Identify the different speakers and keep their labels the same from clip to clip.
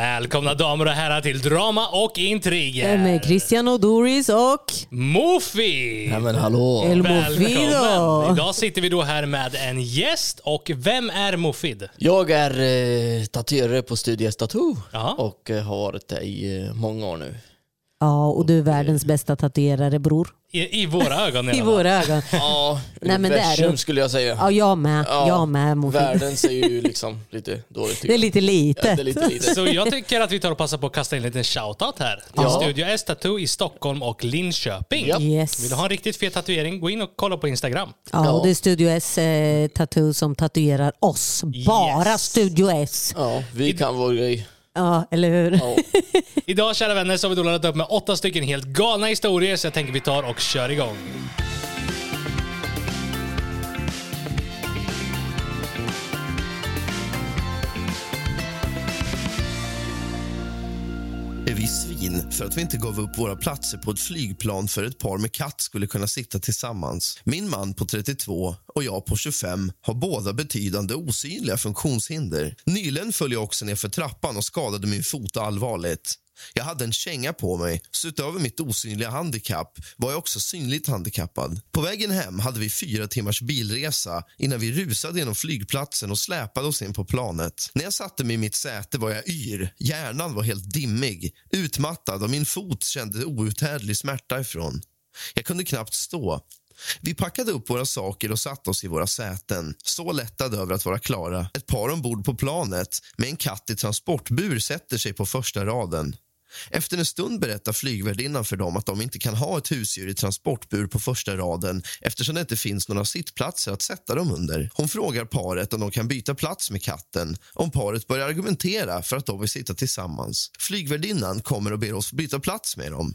Speaker 1: Välkomna damer och herrar till Drama och Intriger.
Speaker 2: Med Christian och Doris och
Speaker 1: Mofi!
Speaker 3: Nej men hallå!
Speaker 2: El
Speaker 1: Välkommen!
Speaker 2: Mofilo.
Speaker 1: Idag sitter vi då här med en gäst och vem är Mofid?
Speaker 3: Jag är eh, tatuerare på Studia Tattoo
Speaker 1: Ja.
Speaker 3: och eh, har varit det i eh, många år nu.
Speaker 2: Ja, och du är världens bästa tatuerare bror.
Speaker 1: I, i våra ögon
Speaker 2: I
Speaker 1: alla fall.
Speaker 2: våra ögon.
Speaker 3: Ja,
Speaker 2: Nej, men det är
Speaker 3: universum
Speaker 2: det.
Speaker 3: skulle jag säga.
Speaker 2: Ja, jag med.
Speaker 3: Ja,
Speaker 2: Jag med Mofilo.
Speaker 3: Världen ser ju liksom lite dåligt ut.
Speaker 2: Det är lite
Speaker 3: Ja,
Speaker 2: litet.
Speaker 3: det är lite litet.
Speaker 1: Så jag tycker att vi tar och passar på att kasta in en liten shoutout här. Till
Speaker 3: Ja.
Speaker 1: Studio S Tattoo i Stockholm och Linköping.
Speaker 3: Ja.
Speaker 2: Yes.
Speaker 1: Vill du ha en riktigt fet tatuering, gå in och kolla på Instagram.
Speaker 2: Ja, och
Speaker 3: Ja.
Speaker 2: det är Studio S eh, Tattoo som tatuerar oss. Bara
Speaker 1: Yes.
Speaker 2: Studio S.
Speaker 3: Ja, vi kan vår grej.
Speaker 2: Ja, eller hur?
Speaker 3: Ja.
Speaker 1: Idag kära vänner så har vi då laddat upp med åtta stycken helt galna historier så jag tänker vi tar och kör igång.
Speaker 4: Är vi svin för att vi inte gav upp våra platser på ett flygplan för ett par med katt skulle kunna sitta tillsammans? Min man på 32 och jag på 25 har båda betydande osynliga funktionshinder. Nyligen föll jag också ner för trappan och skadade min fot allvarligt. Jag hade en känga på mig, så utöver mitt osynliga handikapp var jag också synligt handikappad. På vägen hem hade vi fyra timmars bilresa innan vi rusade genom flygplatsen och släpade oss in på planet. När jag satte mig i mitt säte var jag yr. Hjärnan var helt dimmig, utmattad och min fot kände outhärdlig smärta ifrån. Jag kunde knappt stå. Vi packade upp våra saker och satte oss i våra säten, så lättade över att vara klara. Ett par ombord på planet med en katt i transportbur sätter sig på första raden. Efter en stund berättar flygvärdinnan för dem att de inte kan ha ett husdjur i transportbur på första raden eftersom det inte finns några sittplatser att sätta dem under. Hon frågar paret om de kan byta plats med katten om paret börjar argumentera för att de vill sitta tillsammans. Flygvärdinnan kommer och ber oss byta plats med dem.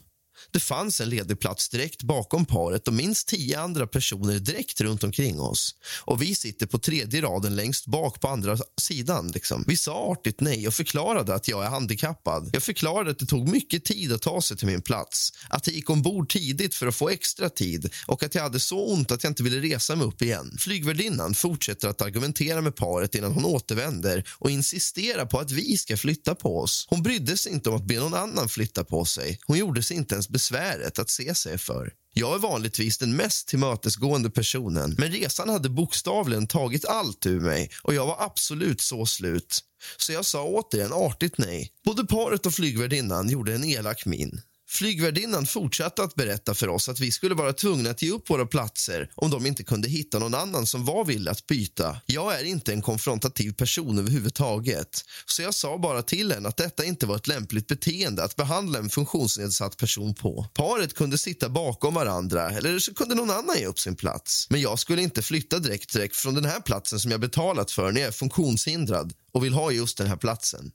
Speaker 4: Det fanns en ledig plats direkt bakom paret och minst tio andra personer direkt runt omkring oss. Och Vi sitter på tredje raden längst bak på andra sidan. Liksom. Vi sa artigt nej och förklarade att jag är handikappad. Jag förklarade att det tog mycket tid att ta sig till min plats, att jag gick ombord tidigt för att få extra tid och att jag hade så ont att jag inte ville resa mig upp igen. Flygvärdinnan fortsätter att argumentera med paret innan hon återvänder och insisterar på att vi ska flytta på oss. Hon brydde sig inte om att be någon annan flytta på sig. Hon gjorde sig inte ens besväret att se sig för. Jag är vanligtvis den mest tillmötesgående personen men resan hade bokstavligen tagit allt ur mig och jag var absolut så slut. Så jag sa återigen artigt nej. Både paret och flygvärdinnan gjorde en elak min. Flygvärdinnan fortsatte att berätta för oss att vi skulle vara tvungna att ge upp våra platser om de inte kunde hitta någon annan som var villig att byta. Jag är inte en konfrontativ person överhuvudtaget så jag sa bara till henne att detta inte var ett lämpligt beteende att behandla en funktionsnedsatt person på. Paret kunde sitta bakom varandra eller så kunde någon annan ge upp sin plats. Men jag skulle inte flytta direkt, direkt från den här platsen som jag betalat för när jag är funktionshindrad och vill ha just den här platsen.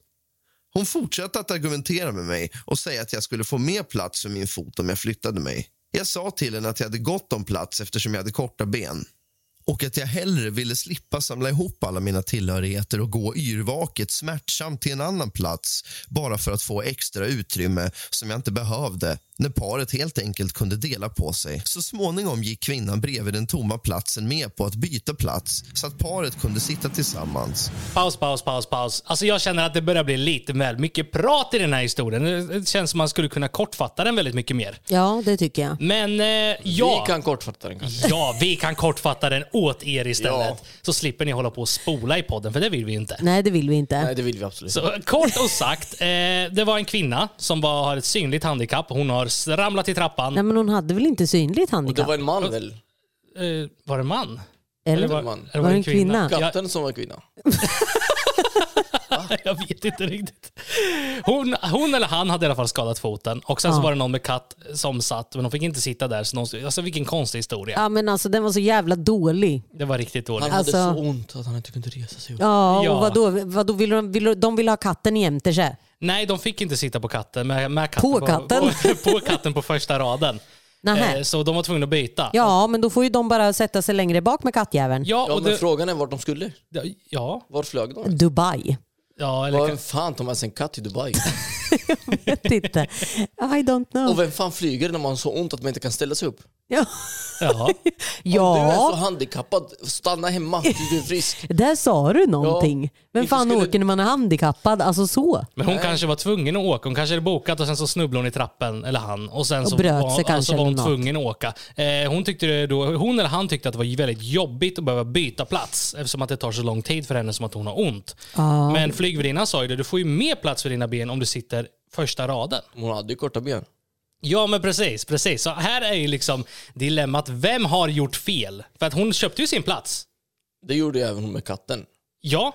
Speaker 4: Hon fortsatte att argumentera med mig och säga att jag skulle få mer plats för min fot om jag flyttade mig. Jag sa till henne att jag hade gott om plats eftersom jag hade korta ben och att jag hellre ville slippa samla ihop alla mina tillhörigheter och gå yrvaket smärtsamt till en annan plats bara för att få extra utrymme som jag inte behövde när paret helt enkelt kunde dela på sig. Så småningom gick kvinnan bredvid den tomma platsen med på att byta plats så att paret kunde sitta tillsammans.
Speaker 1: Paus, paus, paus, paus. Alltså jag känner att det börjar bli lite väl mycket prat i den här historien. Det- Det känns som man skulle kunna kortfatta den väldigt mycket mer.
Speaker 2: Ja, det tycker jag.
Speaker 1: Men eh, ja.
Speaker 3: Vi kan kortfatta den kanske.
Speaker 1: Ja, vi kan kortfatta den åt er istället.
Speaker 3: Ja.
Speaker 1: Så slipper ni hålla på och spola i podden, för det vill vi ju inte.
Speaker 2: Nej, det vill vi
Speaker 3: Nej,
Speaker 2: inte.
Speaker 3: det vill vi absolut
Speaker 1: Så kort och sagt, eh, det var en kvinna som var, har ett synligt handikapp. Hon har s- ramlat i trappan.
Speaker 2: Nej, men hon hade väl inte synligt
Speaker 3: Och det
Speaker 2: handikapp?
Speaker 3: var en man väl?
Speaker 1: Eh, var det en man?
Speaker 2: Eller?
Speaker 1: Eller var,
Speaker 3: man.
Speaker 1: eller var det en kvinna? Jag,
Speaker 3: Katten som var kvinna?
Speaker 1: jag vet inte riktigt. Hon, hon eller han hade i alla fall skadat foten. Och sen så
Speaker 2: Ja.
Speaker 1: var det någon med katt som satt, men de fick inte sitta där. Så någon, alltså vilken konstig historia.
Speaker 2: Ja, men alltså den var så jävla dålig.
Speaker 1: Det var riktigt dåligt.
Speaker 3: Han
Speaker 2: Alltså-
Speaker 3: hade så ont att han inte kunde resa sig upp.
Speaker 2: Ja,
Speaker 1: Ja.
Speaker 2: och vadå? vadå vill de, vill, de- de vill ha katten jämte sig.
Speaker 1: Nej, de fick inte sitta på katten. Med, med katten
Speaker 2: På katten?
Speaker 1: På, på katten på första raden.
Speaker 2: Nähä.
Speaker 1: Eh, så de var tvungna att byta.
Speaker 2: Ja, men då får ju de bara sätta sig längre bak med kattjäveln.
Speaker 1: Ja,
Speaker 3: Ja,
Speaker 1: och
Speaker 3: men
Speaker 1: det,
Speaker 3: frågan är vart de skulle.
Speaker 1: ja,
Speaker 3: Var flög de?
Speaker 2: Dubai.
Speaker 1: ja, eller,
Speaker 3: Var fan tar man sig en katt i Dubai?
Speaker 2: Titta. I don't
Speaker 3: Och
Speaker 2: know.
Speaker 3: vem fan flyger när man har så ont att man inte kan ställa sig upp?
Speaker 2: Ja,
Speaker 1: Ja.
Speaker 3: Du är så
Speaker 2: ja
Speaker 3: handikappad, stanna hemma tills du är frisk.
Speaker 2: där sa du någonting. Vem
Speaker 3: inte
Speaker 2: fan
Speaker 3: skulle-
Speaker 2: åker när man är handikappad? Alltså så.
Speaker 1: Men hon kanske var tvungen att åka. Hon kanske hade bokat och sen så snubblade hon i trappen, eller han. Och sen
Speaker 2: Och
Speaker 1: så
Speaker 2: bröt
Speaker 1: var,
Speaker 2: sig
Speaker 1: alltså
Speaker 2: kanske
Speaker 1: var hon
Speaker 2: eller något.
Speaker 1: tvungen att åka. Eh, hon, tyckte det då, hon eller han tyckte att det var väldigt jobbigt att behöva byta plats eftersom att det tar så lång tid för henne som att hon har ont. Men flygvärdinnan sa ju det, du får ju mer plats för dina ben om du sitter första raden.
Speaker 3: Hon hade ju korta ben.
Speaker 1: Ja men precis, precis. Så här är ju liksom dilemmat, vem har gjort fel? För att hon köpte ju sin plats.
Speaker 3: Det gjorde ju även hon med katten.
Speaker 1: Ja,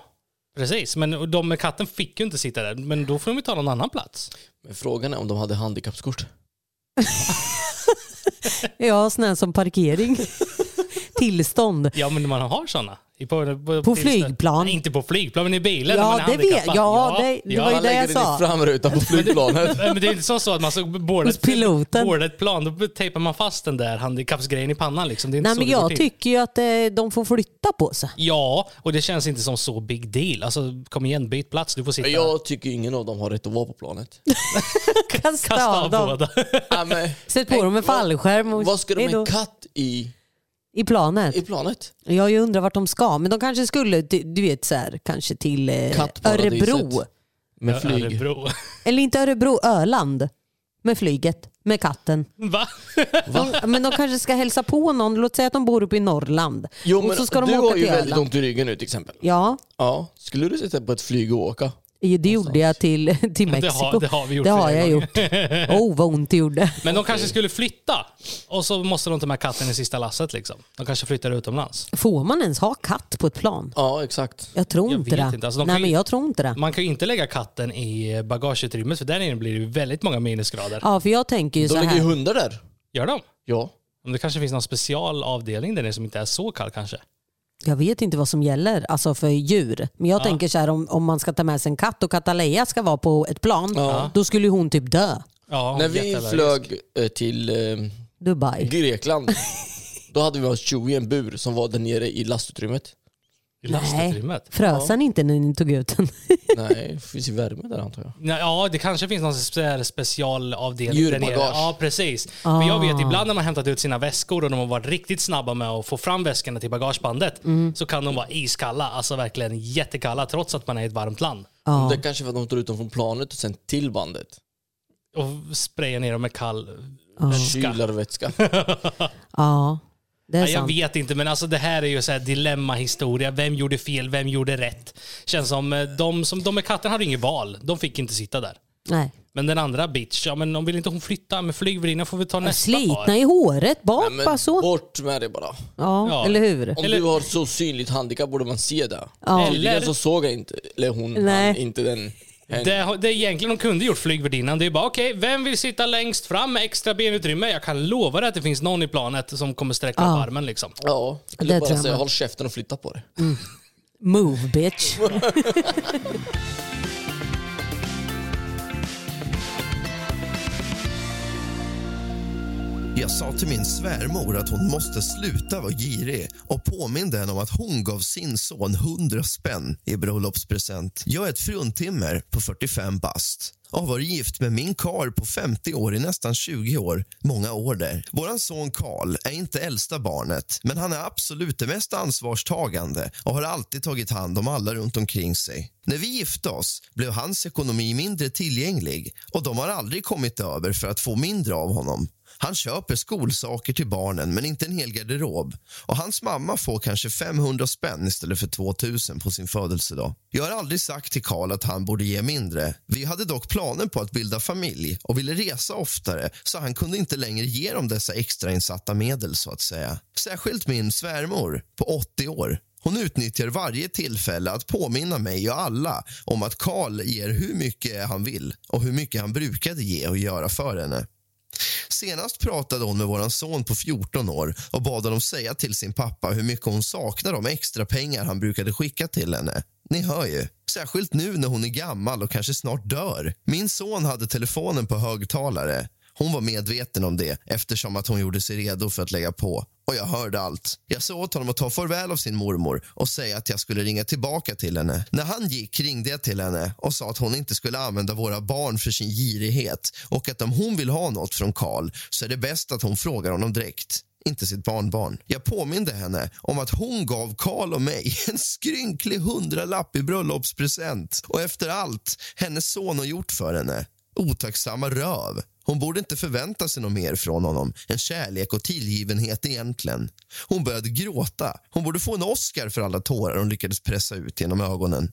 Speaker 1: precis. Men de med katten fick ju inte sitta där, men då får de ju ta någon annan plats.
Speaker 3: Men frågan är om de hade handikappskort.
Speaker 2: Ja, sån här som parkering. Tillstånd.
Speaker 1: Ja, men man har sådana. I- På, på,
Speaker 2: På
Speaker 1: finns
Speaker 2: flygplan.
Speaker 1: Det. Nej, inte på flygplan, men i bilen när man
Speaker 2: Ja,
Speaker 1: är
Speaker 2: det vet
Speaker 1: handikappad.
Speaker 2: jag. Ja, det, det var ju
Speaker 3: Han
Speaker 2: det
Speaker 3: lägger
Speaker 2: jag
Speaker 3: den i
Speaker 2: sa.
Speaker 3: framrutan på flygplanet.
Speaker 1: Nej, Men det är inte så, så att man så boardar
Speaker 2: Hos
Speaker 1: ett-
Speaker 2: piloten.
Speaker 1: boardar ett plan, då tejpar man fast den där handikappsgrejen i pannan. Liksom. Det är inte
Speaker 2: Nej,
Speaker 1: så
Speaker 2: men
Speaker 1: det går
Speaker 2: jag
Speaker 1: till.
Speaker 2: tycker ju att eh, de får flytta på sig.
Speaker 1: Ja, och det känns inte som så big deal. Alltså, kom igen, byt plats. Du får sitta...
Speaker 3: Men Jag tycker ingen av dem har rätt att vara på planet.
Speaker 2: Kasta,
Speaker 1: Kasta av
Speaker 2: av dem.
Speaker 1: båda.
Speaker 3: Nej, men,
Speaker 2: Sätt på dem en fallskärm. Och,
Speaker 3: vad ska de med
Speaker 2: Hejdå.
Speaker 3: en katt i,
Speaker 2: I planet.
Speaker 3: i planet?
Speaker 2: Jag har ju undrat vart de ska. Men de kanske skulle, du, du vet så här, kanske till eh,
Speaker 3: Kattparadiset.
Speaker 2: Örebro.
Speaker 3: Med flyg.
Speaker 1: Örebro.
Speaker 2: Eller inte Örebro, Öland. Med flyget, med katten.
Speaker 1: Va?
Speaker 2: De, men de kanske ska hälsa på någon. Låt säga att de bor uppe i Norrland.
Speaker 3: Jo,
Speaker 2: och
Speaker 3: men
Speaker 2: så ska de
Speaker 3: du
Speaker 2: åka
Speaker 3: har ju
Speaker 2: till
Speaker 3: väldigt
Speaker 2: Öland.
Speaker 3: ont i ryggen nu till exempel.
Speaker 2: Ja,
Speaker 3: Ja. Skulle du sitta på ett flyg och åka?
Speaker 2: det gjorde jag till, till
Speaker 1: Det
Speaker 2: Mexiko.
Speaker 1: har, det har vi gjort.
Speaker 2: Det har
Speaker 1: flera
Speaker 2: jag
Speaker 1: gånger.
Speaker 2: gjort. Oh, vad ont det gjorde.
Speaker 1: Men de kanske skulle flytta och så måste de ta med katten i sista lasset. Liksom. De kanske flyttar utomlands.
Speaker 2: Får man ens ha katt på ett plan?
Speaker 3: Ja, exakt.
Speaker 2: Jag tror
Speaker 1: Jag
Speaker 2: inte
Speaker 1: vet
Speaker 2: det.
Speaker 1: inte. Alltså, de kan
Speaker 2: Nej,
Speaker 1: ju-
Speaker 2: men jag tror inte det.
Speaker 1: Man kan ju inte lägga katten i bagageutrymmet för där inne blir det ju väldigt många minusgrader.
Speaker 2: Ja, för jag tänker ju
Speaker 3: De
Speaker 2: så
Speaker 3: lägger ju
Speaker 2: här.
Speaker 3: hundar där.
Speaker 1: Gör de?
Speaker 3: Ja.
Speaker 1: Om det kanske finns någon specialavdelning där nere som inte är så kall kanske.
Speaker 2: Jag vet inte vad som gäller alltså för djur. Men jag tänker så här om, om man ska ta med sig en katt och Kataleja ska vara på ett plan, då skulle ju hon typ dö.
Speaker 1: Ja,
Speaker 3: När vi
Speaker 1: jätteallergisk.
Speaker 3: flög eh, till eh,
Speaker 2: Dubai.
Speaker 3: Grekland, då hade vi en tjo i en bur som var där nere i lastutrymmet.
Speaker 1: I lastutrymmet.
Speaker 2: Frös han inte när ni tog ut den?
Speaker 3: Nej, det finns ju värme där antar jag.
Speaker 1: Nej, Ja, det kanske finns någon spe- specialavdelning där nere.
Speaker 3: Djurbagage.
Speaker 1: Ja, precis. För jag vet, ibland när man hämtat ut sina väskor och de har varit riktigt snabba med att få fram väskorna till bagagebandet så kan de vara iskalla, alltså verkligen jättekalla trots att man är i ett varmt land.
Speaker 3: Det kanske var att de tar ut dem från planet och sen till bandet.
Speaker 1: Och spraya ner dem med kall
Speaker 3: Kylarvätska.
Speaker 2: Ja, det är
Speaker 1: Nej, jag
Speaker 2: sant.
Speaker 1: vet inte, men alltså det här är ju så här dilemmahistoria. Vem gjorde fel? Vem gjorde rätt? Känns som eh, de, som de med katten hade inget val. De fick inte sitta där.
Speaker 2: Nej.
Speaker 1: Men den andra bitch, ja men om vill inte hon flytta med flygvärdinnan får vi ta nästa
Speaker 2: Slitna
Speaker 1: par.
Speaker 2: i håret bak
Speaker 3: Nej, men
Speaker 2: bara så.
Speaker 3: bort med det bara.
Speaker 2: Ja,
Speaker 1: Ja.
Speaker 2: eller hur?
Speaker 3: Om
Speaker 1: Eller-
Speaker 3: du har så synligt handikapp borde man se det.
Speaker 2: Ja.
Speaker 1: Eller-
Speaker 3: Eller så såg jag inte, eller hon,
Speaker 2: Nej.
Speaker 3: han, inte den. hen.
Speaker 1: Det, har- det är egentligen de kunde gjort flygvärdinnan. Det är bara okej, vem vill sitta längst fram med extra benutrymme? Jag kan lova dig att det finns någon i planet som kommer sträcka upp armen liksom.
Speaker 3: Ja,
Speaker 2: Det
Speaker 3: eller
Speaker 2: tror
Speaker 3: bara
Speaker 2: jag
Speaker 3: säga
Speaker 2: med.
Speaker 3: håll käften och flytta på det.
Speaker 2: Move bitch.
Speaker 4: Jag sa till min svärmor att hon måste sluta vara girig och påminde henne om att hon gav sin son 100 spänn i bröllopspresent. Jag är ett fruntimmer på 45 bast och har varit gift med min kar på 50 år i nästan 20 år, många år där. Våran son Karl är inte äldsta barnet, men han är absolut det mest ansvarstagande och har alltid tagit hand om alla runt omkring sig. När vi gifte oss blev hans ekonomi mindre tillgänglig och de har aldrig kommit över för att få mindre av honom. Han köper skolsaker till barnen, men inte en hel garderob. Och Hans mamma får kanske 500 spänn istället för 2000 på sin födelsedag. Jag har aldrig sagt till Karl att han borde ge mindre. Vi hade dock planer på att bilda familj och ville resa oftare så han kunde inte längre ge dem dessa extrainsatta medel. så att säga. Särskilt min svärmor på 80 år hon utnyttjar varje tillfälle att påminna mig och alla om att Karl ger hur mycket han vill och hur mycket han brukade ge och göra för henne. Senast pratade hon med vår son på 14 år och bad honom säga till sin pappa hur mycket hon saknar de extra pengar han brukade skicka till henne. Ni hör ju. Särskilt nu när hon är gammal och kanske snart dör. Min son hade telefonen på högtalare Hon var medveten om det eftersom att hon gjorde sig redo för att lägga på och jag hörde allt. Jag sa åt honom att ta farväl av sin mormor och säga att jag skulle ringa tillbaka till henne. När han gick ringde jag till henne och sa att hon inte skulle använda våra barn för sin girighet och att om hon vill ha något från Karl så är det bäst att hon frågar honom direkt inte sitt barnbarn. Jag påminde henne om att hon gav Karl och mig en skrynklig hundralapp i bröllopspresent och efter allt hennes son har gjort för henne. Otacksamma röv. Hon borde inte förvänta sig något mer från honom än kärlek och tillgivenhet egentligen. Hon började gråta. Hon borde få en Oscar för alla tårar hon lyckades pressa ut genom ögonen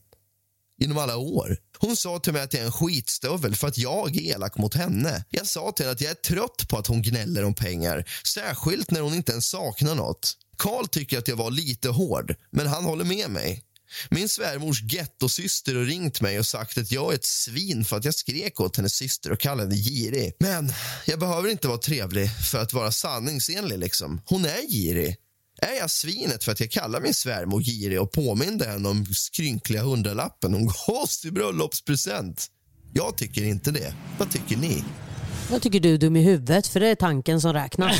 Speaker 4: genom alla år. Hon sa till mig att jag är en skitstövel för att jag är elak mot henne. Jag sa till henne att jag är trött på att hon gnäller om pengar, särskilt när hon inte ens saknar något. Karl tycker att jag var lite hård, men han håller med mig. Min svärmors gettosyster har ringt mig och sagt att jag är ett svin för att jag skrek åt hennes syster och kallade henne girig. Men jag behöver inte vara trevlig för att vara sanningsenlig liksom. Hon är girig. Är jag svinet för att jag kallar min svärmor girig och påminde henne om skrynkliga hundralappen hon gav oss i bröllopspresent? Jag tycker inte det. Vad tycker ni?
Speaker 2: Jag tycker du är dum i huvudet för det är tanken som räknas.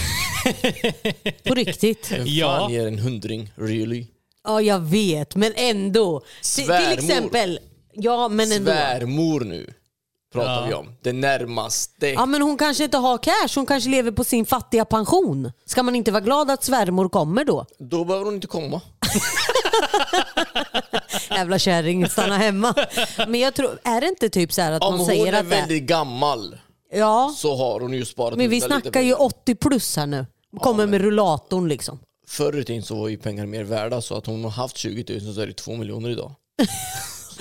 Speaker 2: På riktigt.
Speaker 3: Vem
Speaker 1: Ja.
Speaker 3: fan ger en hundring? Really?
Speaker 2: Ja, jag vet, men ändå. Till, till
Speaker 3: Svärmor.
Speaker 2: exempel. Ja, men ändå.
Speaker 3: Svärmor nu pratar vi om. Det närmaste.
Speaker 2: Ja, men hon kanske inte har cash. Hon kanske lever på sin fattiga pension. Ska man inte vara glad att svärmor kommer då?
Speaker 3: Då behöver hon inte komma.
Speaker 2: Jävla kärring, stanna hemma. Men jag tror, är det inte typ så här att
Speaker 3: Om
Speaker 2: man
Speaker 3: hon
Speaker 2: säger
Speaker 3: är
Speaker 2: att det,
Speaker 3: väldigt gammal
Speaker 2: Ja,
Speaker 3: så har hon ju sparat
Speaker 2: men vi
Speaker 3: undan lite
Speaker 2: snackar ju
Speaker 3: pengar.
Speaker 2: 80 plus här nu. Hon kommer med rullatorn liksom.
Speaker 3: Förr i tiden så var ju pengar mer värda så att hon har haft 20 000 så är det 2 miljoner idag.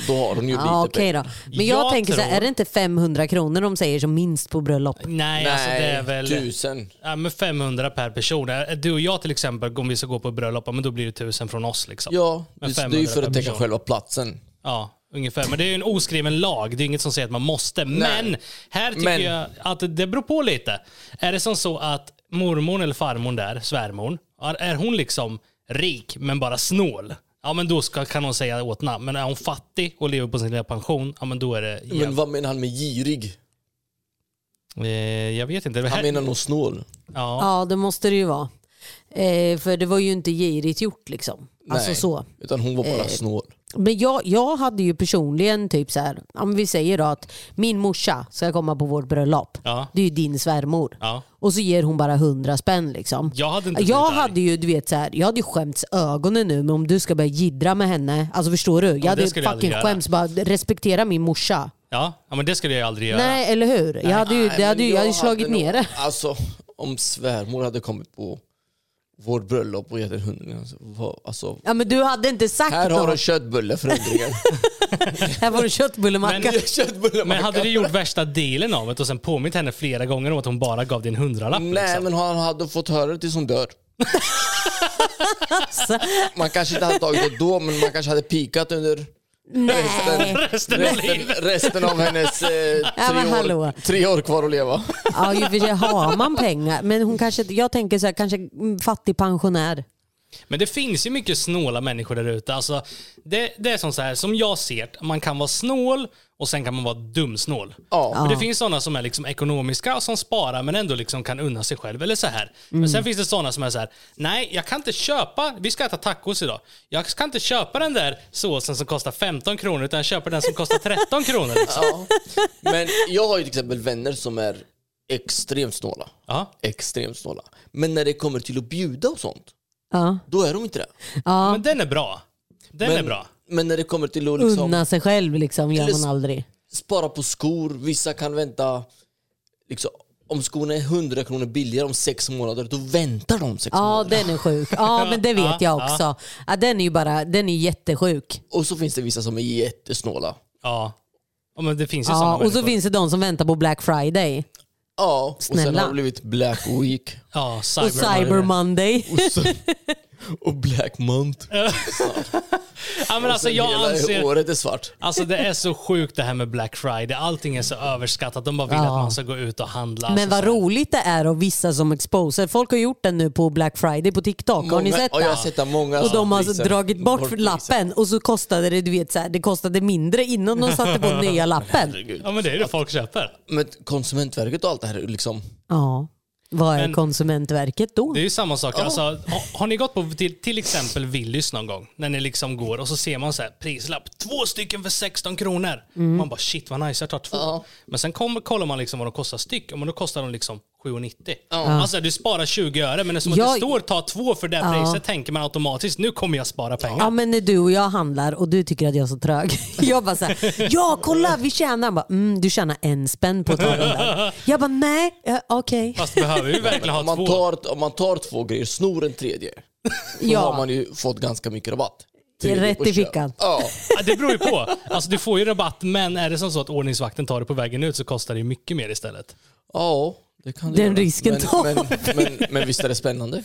Speaker 3: Så då har hon ju
Speaker 2: Ja,
Speaker 3: lite
Speaker 2: okej
Speaker 3: pengar.
Speaker 2: då. Men jag,
Speaker 1: Jag
Speaker 2: tänker så här,
Speaker 1: tror-
Speaker 2: är det inte 500 kronor de säger som minst på bröllop?
Speaker 1: Nej,
Speaker 3: Nej,
Speaker 1: alltså det är väl...
Speaker 3: tusen.
Speaker 1: Ja, men 500 per person. Eh, Du och jag till exempel, om vi ska gå på bröllop, ja, men då blir det 1000 från oss. Liksom.
Speaker 3: Ja, det,
Speaker 1: Men
Speaker 3: det är
Speaker 1: 500
Speaker 3: ju för
Speaker 1: per
Speaker 3: att täcka
Speaker 1: person.
Speaker 3: själva platsen.
Speaker 1: Ja, ungefär. Men det är ju en oskriven lag. Det är inget som säger att man måste. Men här tycker
Speaker 3: Men-
Speaker 1: jag att det beror på lite. Är det som så att mormor eller farmor där, svärmor, är, är hon liksom rik men bara snål? Ja men då ska, kan hon säga åt namn. Men är hon fattig och lever på sin lilla pension, ja men då är det...
Speaker 3: Men vad menar han med girig?
Speaker 1: eh, jag vet inte. Det
Speaker 3: Han
Speaker 1: här,
Speaker 3: menar nog snål.
Speaker 1: ja.
Speaker 2: Ja, det måste det ju vara. Eh, för det var ju inte girigt gjort liksom. Alltså
Speaker 3: Nej,
Speaker 2: så. Eh,
Speaker 3: Utan hon var bara snål.
Speaker 2: Men jag, jag hade ju personligen typ så här, om vi säger då att min morsa ska komma på vårt bröllop.
Speaker 1: Ja.
Speaker 2: Det är ju din svärmor.
Speaker 1: Ja.
Speaker 2: Och så ger hon bara hundra spänn liksom.
Speaker 1: Jag hade inte
Speaker 2: jag
Speaker 1: blivit arg.
Speaker 2: hade ju du vet så här, jag hade ju skämts ögonen nu men om du ska börja jiddra med henne. Alltså förstår du? Jag hade
Speaker 1: skulle jag aldrig
Speaker 2: fucking
Speaker 1: göra.
Speaker 2: skämts bara respektera min morsa.
Speaker 1: Ja, ja, men det skulle jag aldrig göra.
Speaker 2: Nej eller hur? Jag hade ju, det
Speaker 3: Nej,
Speaker 2: hade
Speaker 3: men
Speaker 2: ju, jag hade ju
Speaker 3: jag
Speaker 2: slagit
Speaker 3: hade nog-
Speaker 2: ner det.
Speaker 3: Alltså, om svärmor hade kommit på vårt bröllop och gett en hundring. Alltså, vad- alltså,
Speaker 2: Ja men du hade inte sagt
Speaker 3: här har du
Speaker 2: något.
Speaker 3: en köttbulle för hundringen.
Speaker 2: Här får du köttbullemacka.
Speaker 1: Men-
Speaker 3: köttbulle
Speaker 1: Men hade du gjort värsta dealen av det och sen påmint henne flera gånger om att hon bara gav din hundralapp?
Speaker 3: Nej
Speaker 1: liksom?
Speaker 3: men han hade fått höra det tills hon dör. Man kanske inte hade tagit det då men man kanske hade pikat under resten,
Speaker 1: Resten av
Speaker 3: resten,
Speaker 1: livet.
Speaker 3: resten av hennes eh,
Speaker 2: Ja, men
Speaker 3: tre,
Speaker 2: hallå.
Speaker 3: år, tre år kvar att leva.
Speaker 2: Ja, ju för sig har man pengar. Men hon kanske, jag tänker så här, kanske mm, fattig pensionär.
Speaker 1: Men det finns ju mycket snåla människor där ute. Alltså, det, det är som så här, som jag ser det, man kan vara snål och sen kan man vara dumsnål.
Speaker 3: Ja.
Speaker 1: Men det finns sådana som är liksom ekonomiska och som sparar men ändå liksom kan unna sig själv. Eller så här.
Speaker 2: Mm.
Speaker 1: Men sen finns det sådana som är så här, nej jag kan inte köpa, vi ska äta tacos idag. Jag kan inte köpa den där såsen som kostar 15 kronor utan jag köper den som kostar 13 kronor. Liksom.
Speaker 3: Ja. Men jag har ju till exempel vänner som är extremt snåla.
Speaker 1: Ja.
Speaker 3: Extremt snåla. Men när det kommer till att bjuda och sånt,
Speaker 2: Ja.
Speaker 3: då är de inte det.
Speaker 1: Men den är bra. Den är bra.
Speaker 3: men när det kommer till att liksom
Speaker 2: Unna sig själv liksom, gör
Speaker 3: Plus-
Speaker 2: man aldrig.
Speaker 3: spara på skor, vissa kan vänta liksom, om skorna är 100 kronor billigare om sex månader, då väntar de sex
Speaker 2: Ja,
Speaker 3: månader.
Speaker 2: den är sjuk. Ja, men det vet jag också. Ja, den är ju bara, den är jättesjuk.
Speaker 3: Och så finns det vissa som är jättesnåla.
Speaker 1: Ja. ja men det finns ju sådana
Speaker 2: Ja, och så
Speaker 1: människor.
Speaker 2: finns det de som väntar på Black Friday
Speaker 3: Ja, och sen
Speaker 2: Snälla.
Speaker 3: har det blivit Black Week.
Speaker 1: Ja,
Speaker 2: och Cyber Monday.
Speaker 3: Och så, Och black month.
Speaker 1: Ja, men alltså,
Speaker 3: Sen
Speaker 1: jag
Speaker 3: hela
Speaker 1: anser...
Speaker 3: året är svart.
Speaker 1: Alltså det är så sjukt det här med Black Friday. Allting är så överskattat. De bara vill att man ska gå ut och handla.
Speaker 2: Men vad
Speaker 1: alltså,
Speaker 2: roligt det är och vissa som exposer. Folk har gjort det nu på Black Friday på TikTok. har ni
Speaker 3: Många-
Speaker 2: sett
Speaker 3: ja,
Speaker 2: det?
Speaker 3: jag har sett det. Många
Speaker 2: och de har
Speaker 3: priser.
Speaker 2: dragit bort
Speaker 3: Bort priser.
Speaker 2: lappen och så kostade det, du vet, så här, det kostade mindre innan de satte på nya lappen.
Speaker 1: Ja men det är det folk köper.
Speaker 3: Men Konsumentverket och allt det här, liksom.
Speaker 2: Ja. Vad är
Speaker 1: Men-
Speaker 2: Konsumentverket då?
Speaker 1: Det är ju samma sak. Alltså, har, har ni gått på till, till exempel Willys någon gång? När ni liksom går och så ser man så här prislapp. Två stycken för 16 kronor.
Speaker 2: Mm.
Speaker 1: Man bara shit vad nice, jag tar två. Men sen kommer, kollar man liksom vad de kostar styck. Och då kostar de liksom 7,90. Alltså du sparar 20 öre men eftersom att
Speaker 2: Jag-
Speaker 1: det står ta två för det priset tänker man automatiskt nu kommer jag spara pengar.
Speaker 2: Ja men när du och jag handlar och du tycker att jag är så trög. Jag bara såhär, ja kolla vi tjänar. Han bara, mm, du tjänar en spänn på att ta den där. Jag bara, nej eh, okej.
Speaker 1: Fast behöver vi verkligen
Speaker 3: Om
Speaker 1: ha
Speaker 3: man,
Speaker 1: två?
Speaker 3: tar, om man tar två grejer, snor en tredje, då har
Speaker 2: Ja,
Speaker 3: man ju fått ganska mycket rabatt.
Speaker 2: det är
Speaker 3: Tredje
Speaker 2: rätt
Speaker 3: på
Speaker 2: i
Speaker 3: köp.
Speaker 2: fickan.
Speaker 3: Ja.
Speaker 1: Ja, Det beror ju på. Alltså, du får ju rabatt, men är det som så att ordningsvakten tar det på vägen ut så kostar det ju mycket mer istället.
Speaker 3: ja, det kan det
Speaker 2: Den
Speaker 3: göra.
Speaker 2: risken
Speaker 3: men,
Speaker 2: tar
Speaker 3: men, men, men visst är det spännande?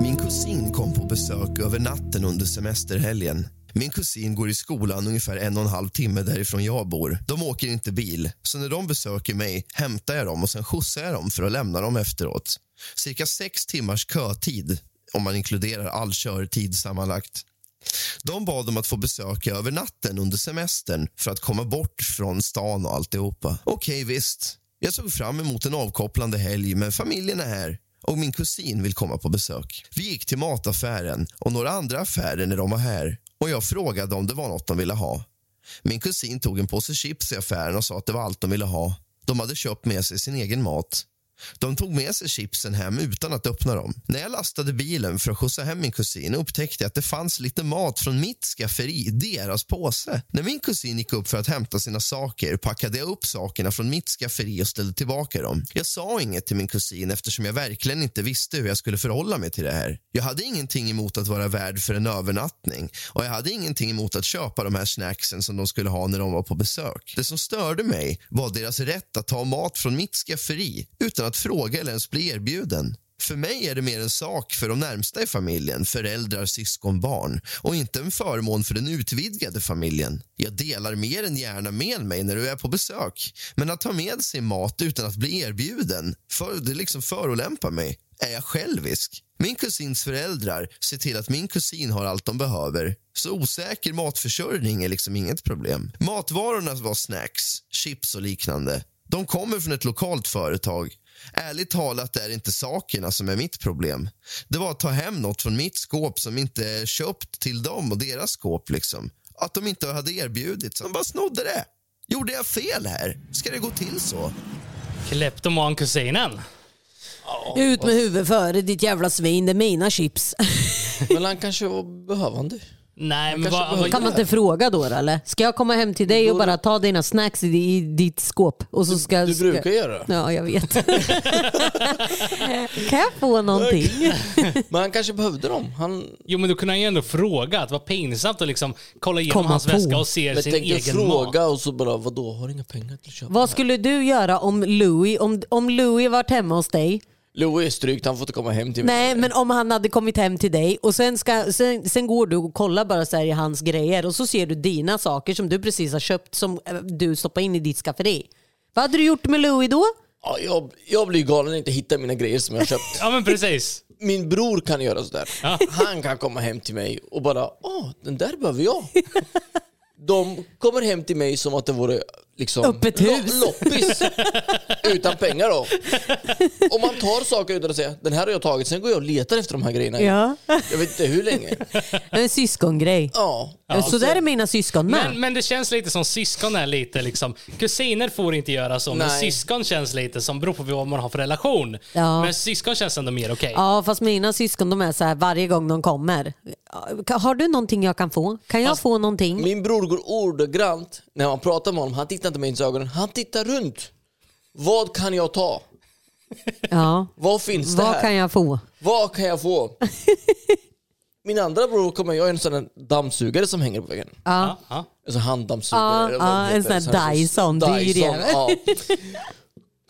Speaker 4: Min kusin kom på besök över natten under semesterhelgen. Min kusin går i skolan ungefär en och en halv timme därifrån jag bor. De åker inte bil, så när de besöker mig hämtar jag dem och sen skjutsar jag dem för att lämna dem efteråt. Cirka sex timmars kötid, om man inkluderar all körtid sammanlagt. De bad om att få besöka över natten under semestern för att komma bort från stan och alltihopa. Okej, visst. Jag såg fram emot en avkopplande helg, men familjen är här och min kusin vill komma på besök. Vi gick till mataffären och några andra affärer när de var här och jag frågade om det var något de ville ha. Min kusin tog en påse chips i affären och sa att det var allt de ville ha. De hade köpt med sig sin egen mat. De tog med sig chipsen hem utan att öppna dem. När jag lastade bilen för att skjutsa hem min kusin upptäckte jag att det fanns lite mat från mitt skafferi i deras påse. När min kusin gick upp för att hämta sina saker packade jag upp sakerna från mitt skafferi och ställde tillbaka dem. Jag sa inget till min kusin eftersom jag verkligen inte visste hur jag skulle förhålla mig till det här. Jag hade ingenting emot att vara värd för en övernattning och jag hade ingenting emot att köpa de här snacksen som de skulle ha när de var på besök. Det som störde mig var deras rätt att ta mat från mitt skafferi utan att fråga eller ens bli erbjuden. För mig är det mer en sak för de närmsta i familjen, föräldrar, syskon, barn och inte en förmån för den utvidgade familjen. Jag delar mer än gärna med mig när du är på besök men att ta med sig mat utan att bli erbjuden, för, det liksom förolämpar mig. Är jag självisk? Min kusins föräldrar ser till att min kusin har allt de behöver. Så osäker matförsörjning är liksom inget problem. Matvarorna var snacks, chips och liknande. De kommer från ett lokalt företag. Ärligt talat är det inte sakerna som är mitt problem. Det var att ta hem något från mitt skåp som inte är köpt till dem och deras skåp. liksom. Att de inte hade erbjudits. De bara snodde det. Gjorde jag fel här? Ska det gå till så?
Speaker 1: Kleptoman-kusinen.
Speaker 2: Ut med huvudet före ditt jävla svin, det är mina chips.
Speaker 3: Men han kanske var behövande.
Speaker 1: Nej, men
Speaker 3: kanske
Speaker 1: vad,
Speaker 3: behöver-
Speaker 1: vad,
Speaker 2: Kan man inte fråga då då, eller? Ska jag komma hem till dig och bara ta dina snacks i, i ditt skåp? Och så ska,
Speaker 3: Du brukar göra det.
Speaker 2: Ja, jag vet. kan jag få någonting?
Speaker 3: Men han kanske behövde dem. Han,
Speaker 1: jo, men då kunde han ju ändå fråga. Att det var pinsamt att liksom kolla igenom
Speaker 2: Komma
Speaker 1: hans
Speaker 2: på.
Speaker 1: väska och se
Speaker 3: men
Speaker 1: sin
Speaker 3: tänkte
Speaker 1: egen
Speaker 3: fråga
Speaker 1: mat.
Speaker 3: och så bara, vadå, har inga pengar till att köpa?
Speaker 2: Vad skulle du göra om Louis, om, om Louis varit hemma hos dig?
Speaker 3: Louis är strykt, han får inte komma hem till mig.
Speaker 2: Nej, men om han hade kommit hem till dig och sen, ska, sen, sen går du och kollar bara så här i hans grejer och så ser du dina saker som du precis har köpt som eh, du stoppar in i ditt skafferi. Vad hade du gjort med Louis då?
Speaker 3: Ja, jag, jag blir galen när jag inte hittar mina grejer som jag har köpt.
Speaker 1: Ja, men precis.
Speaker 3: Min bror kan göra sådär. Han kan komma hem till mig och bara åh, den där behöver jag. De kommer hem till mig som att det vore liksom,
Speaker 2: Öppet hus.
Speaker 3: lo- loppis. utan pengar då. Om man tar saker utan att säga den här har jag tagit, sen går jag och letar efter de här grejerna.
Speaker 2: Ja.
Speaker 3: Jag vet inte hur länge.
Speaker 2: En syskongrej.
Speaker 3: Ja.
Speaker 2: så där är mina syskon med.
Speaker 1: Men, men det känns lite som syskon är lite liksom. Kusiner får inte göra så, men
Speaker 3: Nej.
Speaker 1: syskon känns lite som, beror på vad man har för relation.
Speaker 2: Ja.
Speaker 1: Men syskon känns ändå mer okej.
Speaker 2: Ja, fast mina syskon de är så här varje gång de kommer. Har du någonting jag kan få? Kan jag få någonting?
Speaker 3: Min bror går ordagrant, när man pratar med honom, han tittar inte mig i ögonen, han tittar runt. Vad kan jag ta?
Speaker 2: Ja.
Speaker 3: Vad finns det
Speaker 2: Vad
Speaker 3: här?
Speaker 2: kan jag få?
Speaker 3: Vad kan jag få? Min andra bror kommer, jag är en sån där dammsugare som hänger på väggen.
Speaker 1: Ja. Ja.
Speaker 3: Alltså handdammsugare.
Speaker 2: Ja,
Speaker 3: eller vad
Speaker 2: ja,
Speaker 3: det heter.
Speaker 2: en sån där Dyson, dyr
Speaker 3: Dyson,
Speaker 2: jävel.
Speaker 3: ja.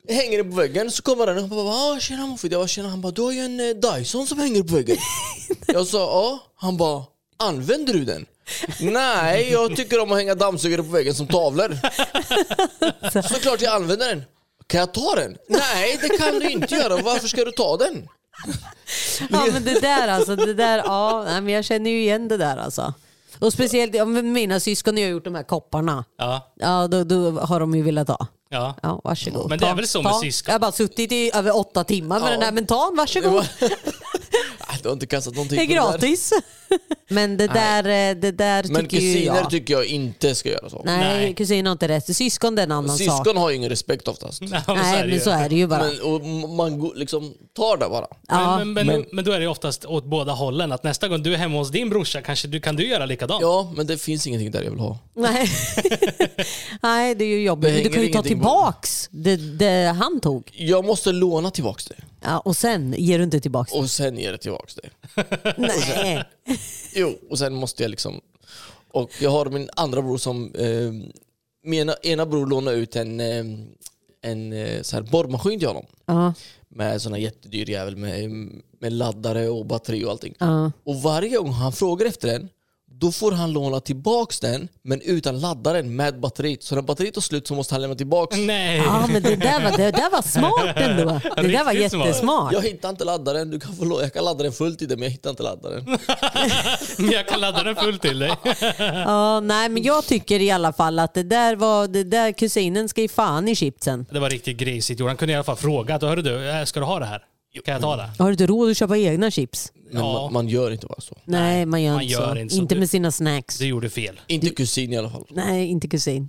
Speaker 3: hänger det på väggen så kommer han och bara ah, “Tjena Mufid”. Jag bara “Tjena”. Han bara “Du har ju en eh, Dyson som hänger på väggen”. jag sa “Ja”. Han bara “Använder du den?” Nej, jag tycker om att hänga dammsugare på väggen som tavlor. Såklart jag använder den. Kan jag ta den? Nej, det kan du inte göra. Varför ska du ta den?
Speaker 2: Ja men det där alltså, det där, ja, nej, men jag känner ju igen det där alltså. Och speciellt ja, men mina syskon har ju gjort de här kopparna.
Speaker 1: Ja,
Speaker 2: Ja, då, då har de ju velat ha.
Speaker 1: ja.
Speaker 2: Ja, varsågod.
Speaker 1: Men det är
Speaker 2: Ta,
Speaker 1: väl så
Speaker 2: ta.
Speaker 1: med syskon?
Speaker 2: Jag har bara suttit i över åtta timmar med
Speaker 3: Ja.
Speaker 2: den här, men ta en, varsågod.
Speaker 3: Ah, Du har inte kastat någonting
Speaker 2: Det är
Speaker 3: på den där.
Speaker 2: gratis. Men det där, eh, det där
Speaker 3: Men
Speaker 2: tycker ju
Speaker 3: kusiner
Speaker 2: jag.
Speaker 3: tycker jag inte ska göra så.
Speaker 2: Nej,
Speaker 1: Nej.
Speaker 2: kusin har inte rätt. Syskon det är en annan sak.
Speaker 3: Syskon har ju ingen respekt oftast.
Speaker 1: Ja, men så är
Speaker 2: Nej,
Speaker 1: det
Speaker 2: men
Speaker 1: ju.
Speaker 2: så är det ju bara.
Speaker 3: Men, och m- man go- liksom tar det bara.
Speaker 2: ja.
Speaker 1: men, men, men, men då är det ju oftast åt båda hållen. Att nästa gång du är hemma hos din brorsa kanske du, kan du göra likadant.
Speaker 3: Ja, men det finns ingenting där jag vill ha.
Speaker 2: Nej. Nej, det är ju
Speaker 3: Det
Speaker 2: jobbigt. Men du
Speaker 3: hänger
Speaker 2: kan ju ta
Speaker 3: ingenting på.
Speaker 2: tillbaks det, det han tog.
Speaker 3: Jag måste låna tillbaks det.
Speaker 2: Ja, och sen ger du inte tillbaks det.
Speaker 3: Och sen ge det tillbaks det.
Speaker 2: Nej.
Speaker 3: Jo, och sen måste jag liksom... Och jag har min andra bror som... Eh, min ena, ena bror lånade ut en, eh, en eh, så här borrmaskin till honom.
Speaker 2: Ja,
Speaker 3: Med sån här jättedyr jävel med, med laddare och batteri och allting.
Speaker 2: ja.
Speaker 3: Och varje gång han frågar efter den, då får han låna tillbaks den men utan laddaren med batteriet. Så när batteriet tar slut så måste han lämna tillbaks.
Speaker 1: Nej.
Speaker 2: Ja, men det där, var, det där var smart ändå. Det där var
Speaker 1: Riktigt smart.
Speaker 2: jättesmart.
Speaker 3: Jag hittar inte laddaren, du kan få lå- jag kan ladda den fullt i det men jag hittar inte laddaren.
Speaker 1: Men jag kan ladda den full till dig.
Speaker 2: Ja, nej, men jag tycker i alla fall att det där var, det där kusinen ska i fan i chipsen.
Speaker 1: Det var riktigt grisigt. Jordan kunde i alla fall fråga. att, Hörru du, eh, ska du ha det här? Kan jag ta det?
Speaker 2: Har du inte råd att köpa egna chips?
Speaker 3: Men man, man gör inte bara så.
Speaker 2: Nej, man gör,
Speaker 1: man
Speaker 2: inte,
Speaker 1: gör
Speaker 2: så.
Speaker 1: inte så.
Speaker 2: Inte
Speaker 1: Du-
Speaker 2: med sina snacks.
Speaker 1: Du gjorde fel.
Speaker 3: Inte kusin i alla fall.
Speaker 2: Nej, inte kusin.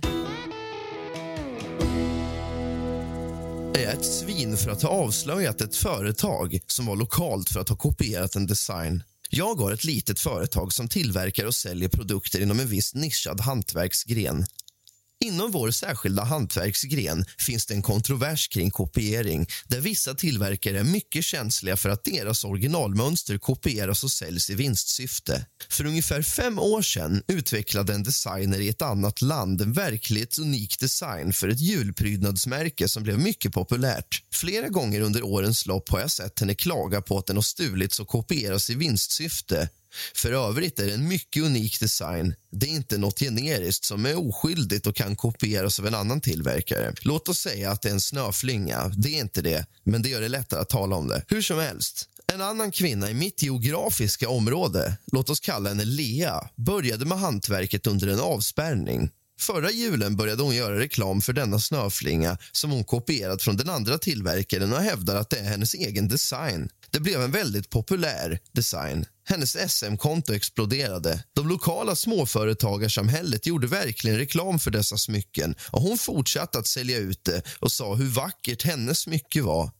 Speaker 4: är jag ett svin för att ha avslöjat ett företag som var lokalt för att ha kopierat en design. Jag har ett litet företag som tillverkar och säljer produkter inom en viss nischad hantverksgren. Inom vår särskilda hantverksgren finns det en kontrovers kring kopiering där vissa tillverkare är mycket känsliga för att deras originalmönster kopieras och säljs i vinstsyfte. För ungefär fem år sedan utvecklade en designer i ett annat land en verkligt unik design för ett julprydnadsmärke som blev mycket populärt. Flera gånger under årens lopp har jag sett henne klaga på att den har stulits och kopierats i vinstsyfte för övrigt är det en mycket unik design. Det är inte något generiskt som är oskyldigt och kan kopieras av en annan tillverkare. Låt oss säga att det är en snöflinga. Det är inte det, men det gör det lättare att tala om det. Hur som helst. En annan kvinna i mitt geografiska område, låt oss kalla henne Lea, började med hantverket under en avspärrning. Förra julen började hon göra reklam för denna snöflinga som hon kopierat från den andra tillverkaren och hävdar att det är hennes egen design. Det blev en väldigt populär design. Hennes SM-konto exploderade. De lokala småföretagarsamhället gjorde verkligen reklam för dessa smycken och hon fortsatte att sälja ut det och sa hur vackert hennes smycke var.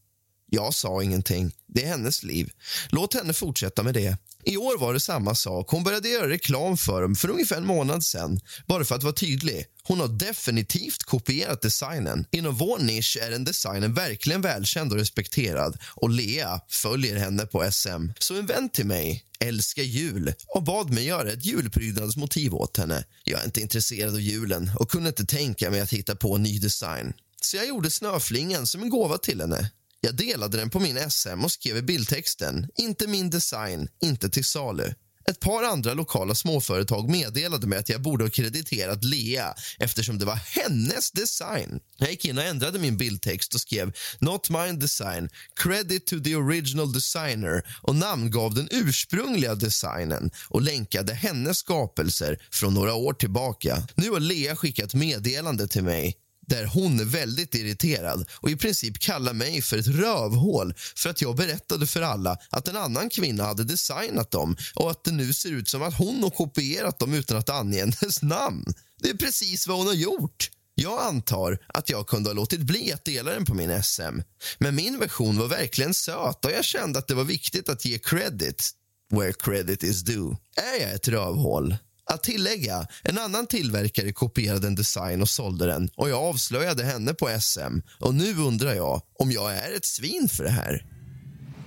Speaker 4: Jag sa ingenting. Det är hennes liv. Låt henne fortsätta med det. I år var det samma sak. Hon började göra reklam för dem för ungefär en månad sen. Bara för att vara tydlig. Hon har definitivt kopierat designen. Inom vår nisch är den designen verkligen välkänd och respekterad och Lea följer henne på SM. Så en vän till mig älskar jul och bad mig göra ett julprydnadsmotiv åt henne. Jag är inte intresserad av julen och kunde inte tänka mig att hitta på en ny design. Så jag gjorde snöflingan som en gåva till henne. Jag delade den på min SM och skrev i bildtexten “Inte min design, inte till salu”. Ett par andra lokala småföretag meddelade mig att jag borde ha krediterat Lea eftersom det var hennes design. Jag gick in och ändrade min bildtext och skrev “Not mine design, credit to the original designer” och namngav den ursprungliga designen och länkade hennes skapelser från några år tillbaka. Nu har Lea skickat meddelande till mig där hon är väldigt irriterad och i princip kallar mig för ett rövhål för att jag berättade för alla att en annan kvinna hade designat dem och att det nu ser ut som att hon har kopierat dem utan att ange hennes namn. Det är precis vad hon har gjort. Jag antar att jag kunde ha låtit bli att dela den på min SM. Men min version var verkligen söt och jag kände att det var viktigt att ge credit where credit is due. Är jag ett rövhål? Att tillägga, en annan tillverkare kopierade en design och sålde den och jag avslöjade henne på SM och nu undrar jag om jag är ett svin för det här.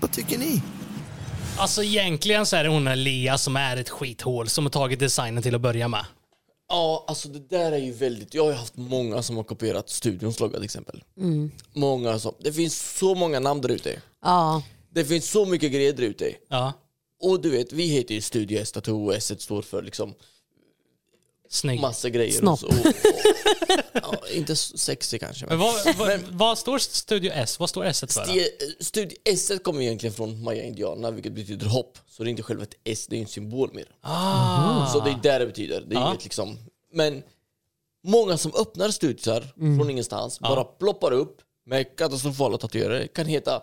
Speaker 4: Vad tycker ni?
Speaker 1: eh, Alltså egentligen så är det hon här Lea som är ett skithål som har tagit designen till att börja med.
Speaker 3: Ja, alltså det där är ju väldigt... Jag har ju haft många som har kopierat studions logga till exempel. Många som... Det finns så många namn där ute.
Speaker 2: Ja.
Speaker 3: Det finns så mycket grejer där ute.
Speaker 1: Ja.
Speaker 3: Och du vet, vi heter ju Studio S, och S står för liksom
Speaker 1: Snygg.
Speaker 3: massa grejer. och
Speaker 2: Snopp.
Speaker 3: så- och, och, ja, inte sexy kanske.
Speaker 1: Men
Speaker 3: Men.
Speaker 1: vad, vad, vad står Studio S? Vad står S för? då?
Speaker 3: Sti- Studio S kommer egentligen från maya-indianerna, vilket betyder hopp. Så det är inte själva ett S, det är en symbol mer.
Speaker 1: Ah.
Speaker 3: Så det är där det betyder. Det är
Speaker 1: Ja.
Speaker 3: inget liksom. Men många som öppnar studier
Speaker 1: Mm.
Speaker 3: från ingenstans, bara ploppar upp med katastrofala tatuerare. kan heta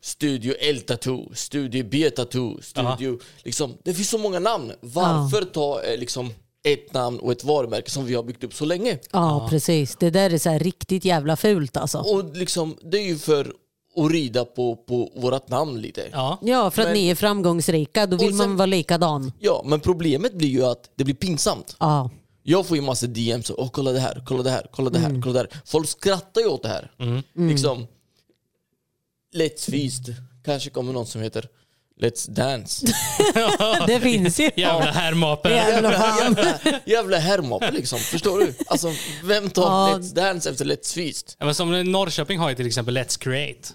Speaker 3: Studio L Tattoo, Studio B Tattoo, Studio... Liksom, det finns så många namn. Varför ta eh, liksom, ett namn och ett varumärke som vi har byggt upp så länge?
Speaker 2: ja, precis. Det där är så här riktigt jävla fult alltså.
Speaker 3: Och liksom, det är ju för att rida på, på vårt namn lite.
Speaker 1: Ja.
Speaker 2: Ja, för att
Speaker 3: Men-
Speaker 2: ni är framgångsrika, då vill
Speaker 3: Och
Speaker 2: man
Speaker 3: sen-
Speaker 2: vara likadan.
Speaker 3: Ja, men problemet blir ju att det blir pinsamt.
Speaker 2: Ja.
Speaker 3: Jag får ju massa DMs. Åh, kolla det här, kolla det här, kolla det här,
Speaker 2: Mm.
Speaker 3: kolla det här. Folk skrattar ju åt det här. Liksom, let's feast. Kanske kommer någon som heter Let's dance.
Speaker 2: Det finns ju.
Speaker 1: Jävla härmapen.
Speaker 2: Jävla fan.
Speaker 3: jävla jävla härmoppe liksom, förstår du? Alltså, vem tar
Speaker 2: Ja.
Speaker 3: Let's dance efter Let's feast?
Speaker 1: Ja, men som Norrköping har ju till exempel Let's Create.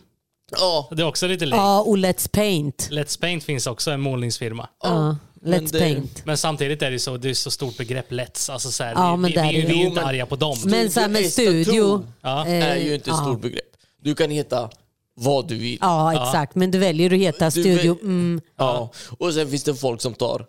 Speaker 3: Ja,
Speaker 1: Det är också lite likt.
Speaker 2: Ja, och Let's Paint.
Speaker 1: Let's Paint finns också, en målningsfirma.
Speaker 2: Ja,
Speaker 3: men
Speaker 2: Let's
Speaker 3: det-
Speaker 2: Paint.
Speaker 1: Men samtidigt är det så, det är så stort begrepp, Let's. Alltså så här,
Speaker 2: Ja,
Speaker 1: vi,
Speaker 2: men
Speaker 1: vi,
Speaker 2: där
Speaker 1: vi, vi
Speaker 2: är
Speaker 1: är ju
Speaker 2: det.
Speaker 1: inte arga på dem.
Speaker 2: Men så här med
Speaker 3: Studio S
Speaker 2: studio.
Speaker 3: Tattoo
Speaker 1: Ja.
Speaker 3: är ju inte ett
Speaker 2: Eh, ja.
Speaker 3: stort begrepp. Du kan heta vad du vill.
Speaker 2: Ja, exakt. Men du väljer att heta
Speaker 3: Du
Speaker 2: Studio.
Speaker 3: väl-
Speaker 2: Mm.
Speaker 3: Ja. Och sen finns det folk som tar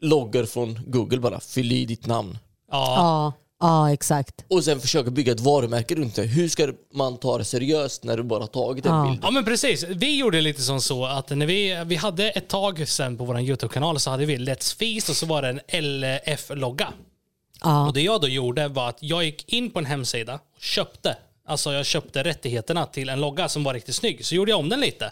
Speaker 3: loggar från Google bara, fyll i ditt namn.
Speaker 1: Ja,
Speaker 2: Ja, ja, exakt.
Speaker 3: Och sen försöka bygga ett varumärke runt det. Hur ska man ta det seriöst när du bara tagit en
Speaker 2: Ja.
Speaker 3: bild?
Speaker 1: ja men precis. Vi gjorde lite som så att när vi, vi hade ett tag sen på vår YouTube-kanal så hade vi Let's Feast och så var det en LF-logga.
Speaker 2: Ja.
Speaker 1: Och det jag då gjorde var att jag gick in på en hemsida och köpte. Alltså jag köpte rättigheterna till en logga som var riktigt snygg. Så gjorde jag om den lite.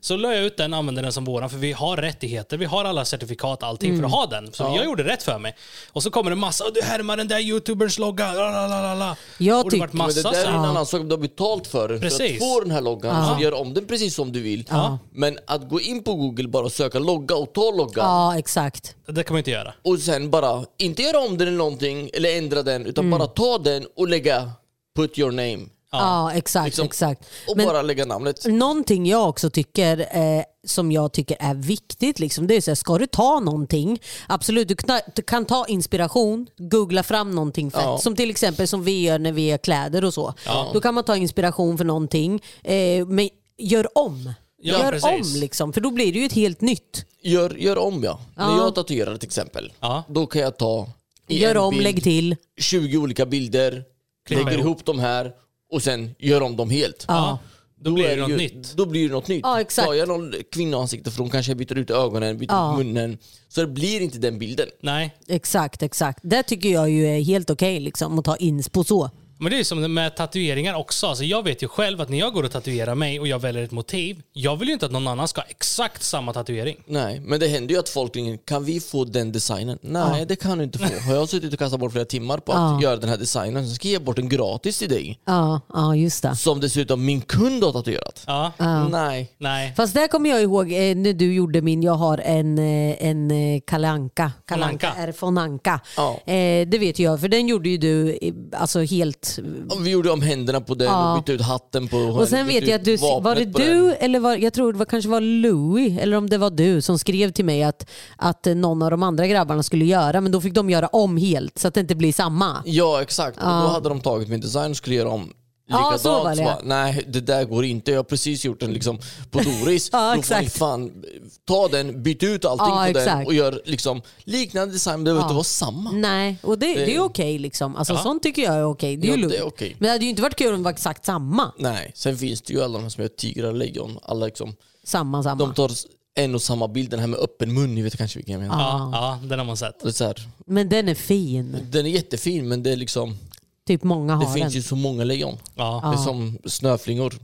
Speaker 1: Så la jag ut den och använde den som våran. För vi har rättigheter, vi har alla certifikat, allting för att ha den. Så jag gjorde rätt för mig. Och så kommer det massa, "Åh, du härmar den där youtuberns logga. La, la, la, la, la.
Speaker 2: Jag
Speaker 1: och det vart
Speaker 2: tycker-
Speaker 3: Men det
Speaker 1: massa
Speaker 3: där är
Speaker 1: så
Speaker 3: en
Speaker 1: här.
Speaker 3: annan sak om du har betalt för den. För
Speaker 1: Precis.
Speaker 3: att få den här loggan så gör om den precis som du vill. Men att gå in på google bara och söka logga och ta loggan
Speaker 2: Ja, exakt.
Speaker 1: Det kan man inte göra.
Speaker 3: och sen bara inte göra om den eller någonting eller ändra den utan
Speaker 2: Mm.
Speaker 3: bara ta den och lägga put your name
Speaker 2: Ja, exakt.
Speaker 3: Liksom-
Speaker 2: exakt.
Speaker 3: och
Speaker 2: Men
Speaker 3: bara lägga namnet.
Speaker 2: Någonting jag också tycker eh, som jag tycker är viktigt, liksom, det är så här, ska du ta någonting, absolut du, kna- du kan ta inspiration, googla fram någonting fett.
Speaker 3: Ja.
Speaker 2: Som till exempel som vi gör när vi gör kläder och så. Då kan man ta inspiration för någonting, eh, men gör om.
Speaker 1: Ja,
Speaker 2: gör
Speaker 1: precis.
Speaker 2: om liksom, för då blir det ju ett helt nytt.
Speaker 3: Gör, gör om ja. När jag tatuerar till exempel,
Speaker 1: Ja.
Speaker 3: då kan jag ta i
Speaker 2: Gör
Speaker 3: en
Speaker 2: om,
Speaker 3: bild
Speaker 2: lägg till.
Speaker 3: 20 olika bilder,
Speaker 1: Klippa
Speaker 3: lägger
Speaker 1: ihop.
Speaker 3: ihop dem här och sen gör om dem helt.
Speaker 1: Ja. Då, blir
Speaker 3: är
Speaker 1: det något
Speaker 3: ju,
Speaker 1: nytt.
Speaker 3: Då blir det något nytt.
Speaker 2: Ja, exakt.
Speaker 3: Tar jag någon kvinnoansikte för hon kanske byter ut ögonen, byter
Speaker 2: Ja.
Speaker 3: ut munnen. Så det blir inte den bilden.
Speaker 1: Nej.
Speaker 2: Exakt, exakt. Det tycker jag ju är helt okej liksom, att ta inspo så.
Speaker 1: Men det är ju som med tatueringar också. Alltså jag vet ju själv att när jag går och tatuerar mig och jag väljer ett motiv. Jag vill ju inte att någon annan ska ha exakt samma tatuering.
Speaker 3: Nej, men det händer ju att folk ringer, kan vi få den designen? Nej, det kan du inte få. Har jag suttit och kastat bort flera timmar på att göra den här designen så ska jag ge bort den gratis till dig.
Speaker 2: Ja, ja just det.
Speaker 3: Som dessutom min kund har tatuerat.
Speaker 1: Ja.
Speaker 2: Ah.
Speaker 3: Nej.
Speaker 1: Nej.
Speaker 2: Fast där kommer jag ihåg eh, när du gjorde min, jag har en, eh, en eh, kalanka. Kalanka
Speaker 1: Anka.
Speaker 2: är von Anka.
Speaker 3: Ja.
Speaker 2: Eh, det vet jag, för den gjorde ju du eh, alltså helt...
Speaker 3: Ja, Vi gjorde om händerna på den
Speaker 2: Ja.
Speaker 3: och bytte ut hatten på
Speaker 2: Och sen vet jag att du, var det du eller var, jag tror det var, kanske var Louis eller om det var du som skrev till mig att, att eh, någon av de andra grabbarna skulle göra men då fick de göra om helt så att det inte blir samma.
Speaker 3: Ja exakt, och då hade de tagit min design och skulle göra om
Speaker 2: Ja,
Speaker 3: likadant.
Speaker 2: så var det, ja.
Speaker 3: bara, Nej det där går inte, jag har precis gjort den liksom på Doris.
Speaker 2: Ja,
Speaker 3: då får ni
Speaker 2: exakt.
Speaker 3: fan ta den, byt ut allting
Speaker 2: Ja,
Speaker 3: på den
Speaker 2: exakt. Mm.
Speaker 3: och gör liksom liknande design men det behöver inte vara samma.
Speaker 2: Nej, och det, det är okej liksom. Alltså, Sånt tycker jag är okej. Det är
Speaker 3: Ja,
Speaker 2: ju
Speaker 3: det är
Speaker 2: lugnt.
Speaker 3: okej.
Speaker 2: Men det hade ju inte varit kul om det var exakt samma.
Speaker 3: Nej, sen finns det ju alla de här som gör tigrar och lejon. Alla liksom,
Speaker 2: Samma, samma.
Speaker 3: de tar en och samma bild, den här med öppen mun, ni vet kanske vilken jag menar.
Speaker 1: Ja, ja, den har man sett.
Speaker 3: Det är så här,
Speaker 2: Men den är fin.
Speaker 3: den är jättefin men det är liksom,
Speaker 2: Typ många
Speaker 3: det
Speaker 2: har den.
Speaker 3: finns ju så många lejon.
Speaker 1: Ja.
Speaker 3: Det är som snöflingor.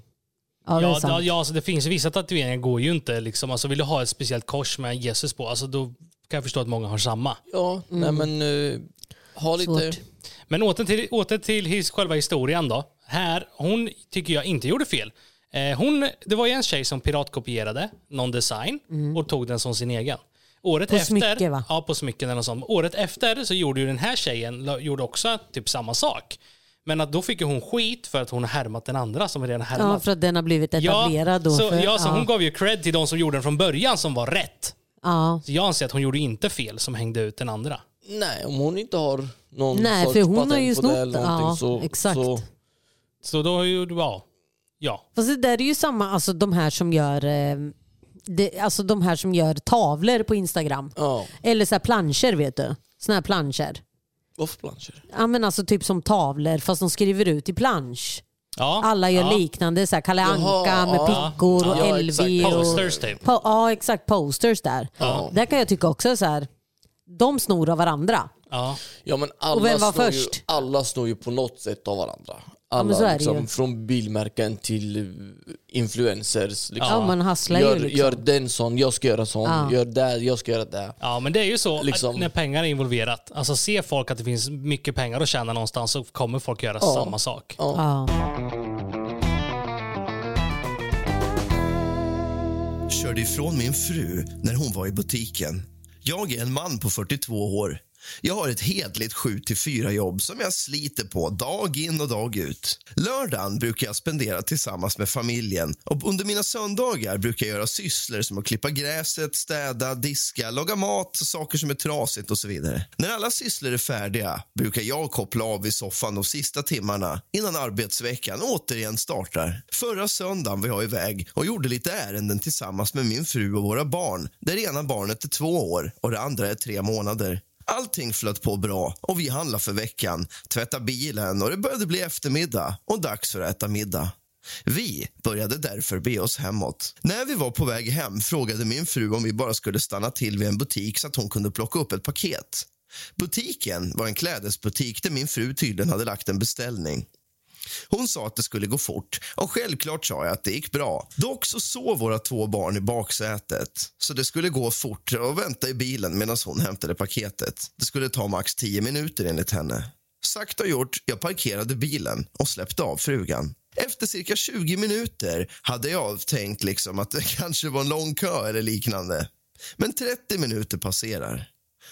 Speaker 2: Ja, det är
Speaker 1: Ja, ja,
Speaker 2: sant.
Speaker 1: ja alltså det finns vissa tatueringar går ju inte. Liksom. Alltså vill du ha ett speciellt kors med Jesus på, alltså då kan jag förstå att många har samma.
Speaker 3: Ja, nej men eh, ha lite...
Speaker 2: Mm. Svårt.
Speaker 1: Men åter till, åter till his, själva historien då. Här, hon tycker jag inte gjorde fel. Eh, hon, det var ju en tjej som piratkopierade någon design och tog den som sin egen. Året
Speaker 2: Mm. På
Speaker 1: efter,
Speaker 2: smycke, va?
Speaker 1: Ja, på smycken eller något sånt. Året efter så gjorde ju den här tjejen la- gjorde också typ samma sak. Men att då fick ju hon skit för att hon har härmat den andra som redan härmat.
Speaker 2: Ja, för att den har blivit etablerad då.
Speaker 1: så,
Speaker 2: för,
Speaker 1: ja, så
Speaker 2: ja.
Speaker 1: hon gav ju cred till de som gjorde den från början som var rätt.
Speaker 2: ja.
Speaker 1: Så jag anser att hon gjorde inte fel som hängde ut den andra.
Speaker 3: Nej, om hon inte har någon
Speaker 2: Nej,
Speaker 3: sorts
Speaker 2: för hon har
Speaker 3: patent
Speaker 2: ju
Speaker 3: på
Speaker 2: snott-
Speaker 3: det eller någonting
Speaker 2: ja,
Speaker 3: så...
Speaker 2: exakt.
Speaker 3: Så,
Speaker 1: Så då gjorde, ja. Ja.
Speaker 2: Fast det där är ju samma, alltså de här som gör eh, det, alltså de här som gör tavlor på Instagram.
Speaker 3: ja.
Speaker 2: Eller så här planscher vet du. Såna här planscher.
Speaker 3: Varför planscher?
Speaker 2: Ja men alltså typ som tavlor fast de skriver ut i plansch.
Speaker 1: ja.
Speaker 2: Alla gör
Speaker 1: ja.
Speaker 2: liknande, så här Kalle
Speaker 3: Jaha,
Speaker 2: Anka med
Speaker 3: ja.
Speaker 2: pickor och
Speaker 3: Ja,
Speaker 2: LV.
Speaker 3: exakt.
Speaker 2: Och,
Speaker 1: Posters typ.
Speaker 2: po- ja exakt, posters där. Där kan jag tycka också så här. de snor av varandra.
Speaker 1: Ja.
Speaker 3: Ja men alla,
Speaker 2: Och vem var
Speaker 3: snor ju,
Speaker 2: först?
Speaker 3: alla snor ju på något sätt av varandra.
Speaker 2: men
Speaker 3: Alla
Speaker 2: så är det ju.
Speaker 3: liksom, från bilmärken till eh, influencers. Liksom.
Speaker 2: Ja, man hasslar
Speaker 3: gör,
Speaker 2: ju liksom.
Speaker 3: gör den sån, jag ska göra sån.
Speaker 2: Ja.
Speaker 3: Gör det, jag ska göra det.
Speaker 1: Ja, men det är ju så att
Speaker 3: Liksom.
Speaker 1: när pengar är involverat. Alltså ser folk att det finns mycket pengar att tjäna någonstans så kommer folk göra samma sak.
Speaker 2: Ja.
Speaker 4: körde ifrån min fru när hon var i butiken. Jag är en man på 42 år. Jag har ett hedligt 7-4 jobb som jag sliter på dag in och dag ut. Lördagen brukar jag spendera tillsammans med familjen och under mina söndagar brukar jag göra sysslor som att klippa gräset, städa, diska, laga mat, saker som är trasigt och så vidare. När alla sysslor är färdiga brukar jag koppla av i soffan de sista timmarna innan arbetsveckan återigen startar. Förra söndagen var jag iväg och gjorde lite ärenden tillsammans med min fru och våra barn. Det ena barnet är två år och det andra är tre månader. Allting flöt på bra och vi handlade för veckan, tvättade bilen och det började bli eftermiddag och dags för att äta middag. Vi började därför be oss hemåt. När vi var på väg hem frågade min fru om vi bara skulle stanna till vid en butik så att hon kunde plocka upp ett paket. Butiken var en klädesbutik där min fru tydligen hade lagt en beställning. Hon sa att det skulle gå fort och självklart sa jag att det gick bra. Dock så sov våra två barn i baksätet så det skulle gå fort och vänta i bilen medan hon hämtade paketet. Det skulle ta max tio minuter enligt henne. Sagt och gjort, jag parkerade bilen och släppte av frugan. Efter cirka 20 minuter hade jag tänkt liksom att det kanske var en lång kö eller liknande. Men 30 minuter passerar.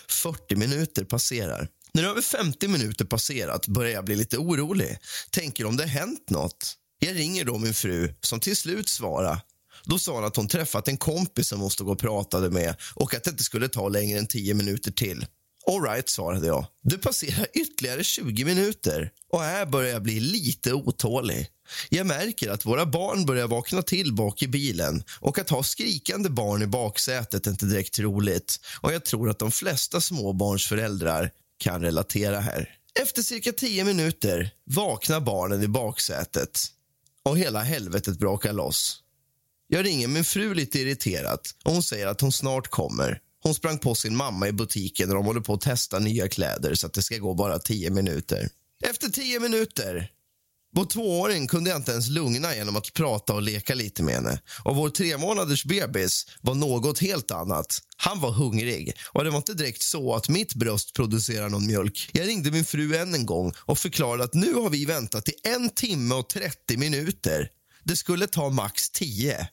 Speaker 4: 40 minuter passerar. När över 50 minuter passerat börjar jag bli lite orolig. Tänker om det hänt något. Jag ringer då min fru som till slut svarar. Då sa hon att hon träffat en kompis som hon stod och pratade med och att det inte skulle ta längre än 10 minuter till. All right, svarade jag. Det passerar ytterligare 20 minuter och här börjar jag bli lite otålig. Jag märker att våra barn börjar vakna till bak i bilen och att ha skrikande barn i baksätet är inte direkt roligt och jag tror att de flesta småbarnsföräldrar kan relatera här. Efter cirka 10 minuter vaknar barnen i baksätet och hela helvetet brakar loss. Jag ringer min fru lite irriterat och hon säger att hon snart kommer. Hon sprang på sin mamma i butiken och de håller på att testa nya kläder så att det ska gå bara tio minuter. Efter tio minuter vår tvååring kunde jag inte ens lugna genom att prata och leka lite med henne. Och vår tremånaders bebis var något helt annat. Han var hungrig och det var inte direkt så att mitt bröst producerar någon mjölk. Jag ringde min fru än en gång och förklarade att nu har vi väntat i en timme och 30 minuter. Det skulle ta max 10.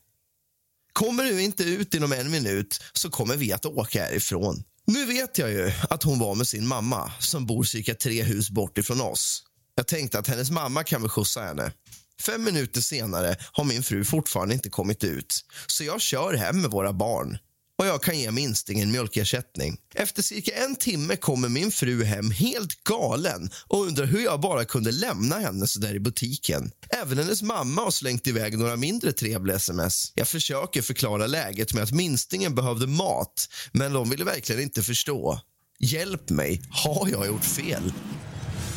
Speaker 4: Kommer du inte ut inom en minut så kommer vi att åka härifrån. Nu vet jag ju att hon var med sin mamma som bor cirka tre hus bort ifrån oss. Jag tänkte att hennes mamma kan väl skjutsa henne. Fem minuter senare har min fru fortfarande inte kommit ut så jag kör hem med våra barn och jag kan ge minstingen mjölkersättning. Efter cirka en timme kommer min fru hem helt galen och undrar hur jag bara kunde lämna henne så där i butiken. Även hennes mamma har slängt iväg några mindre trevliga sms. Jag försöker förklara läget med att minstingen behövde mat men de ville verkligen inte förstå. Hjälp mig, har jag gjort fel?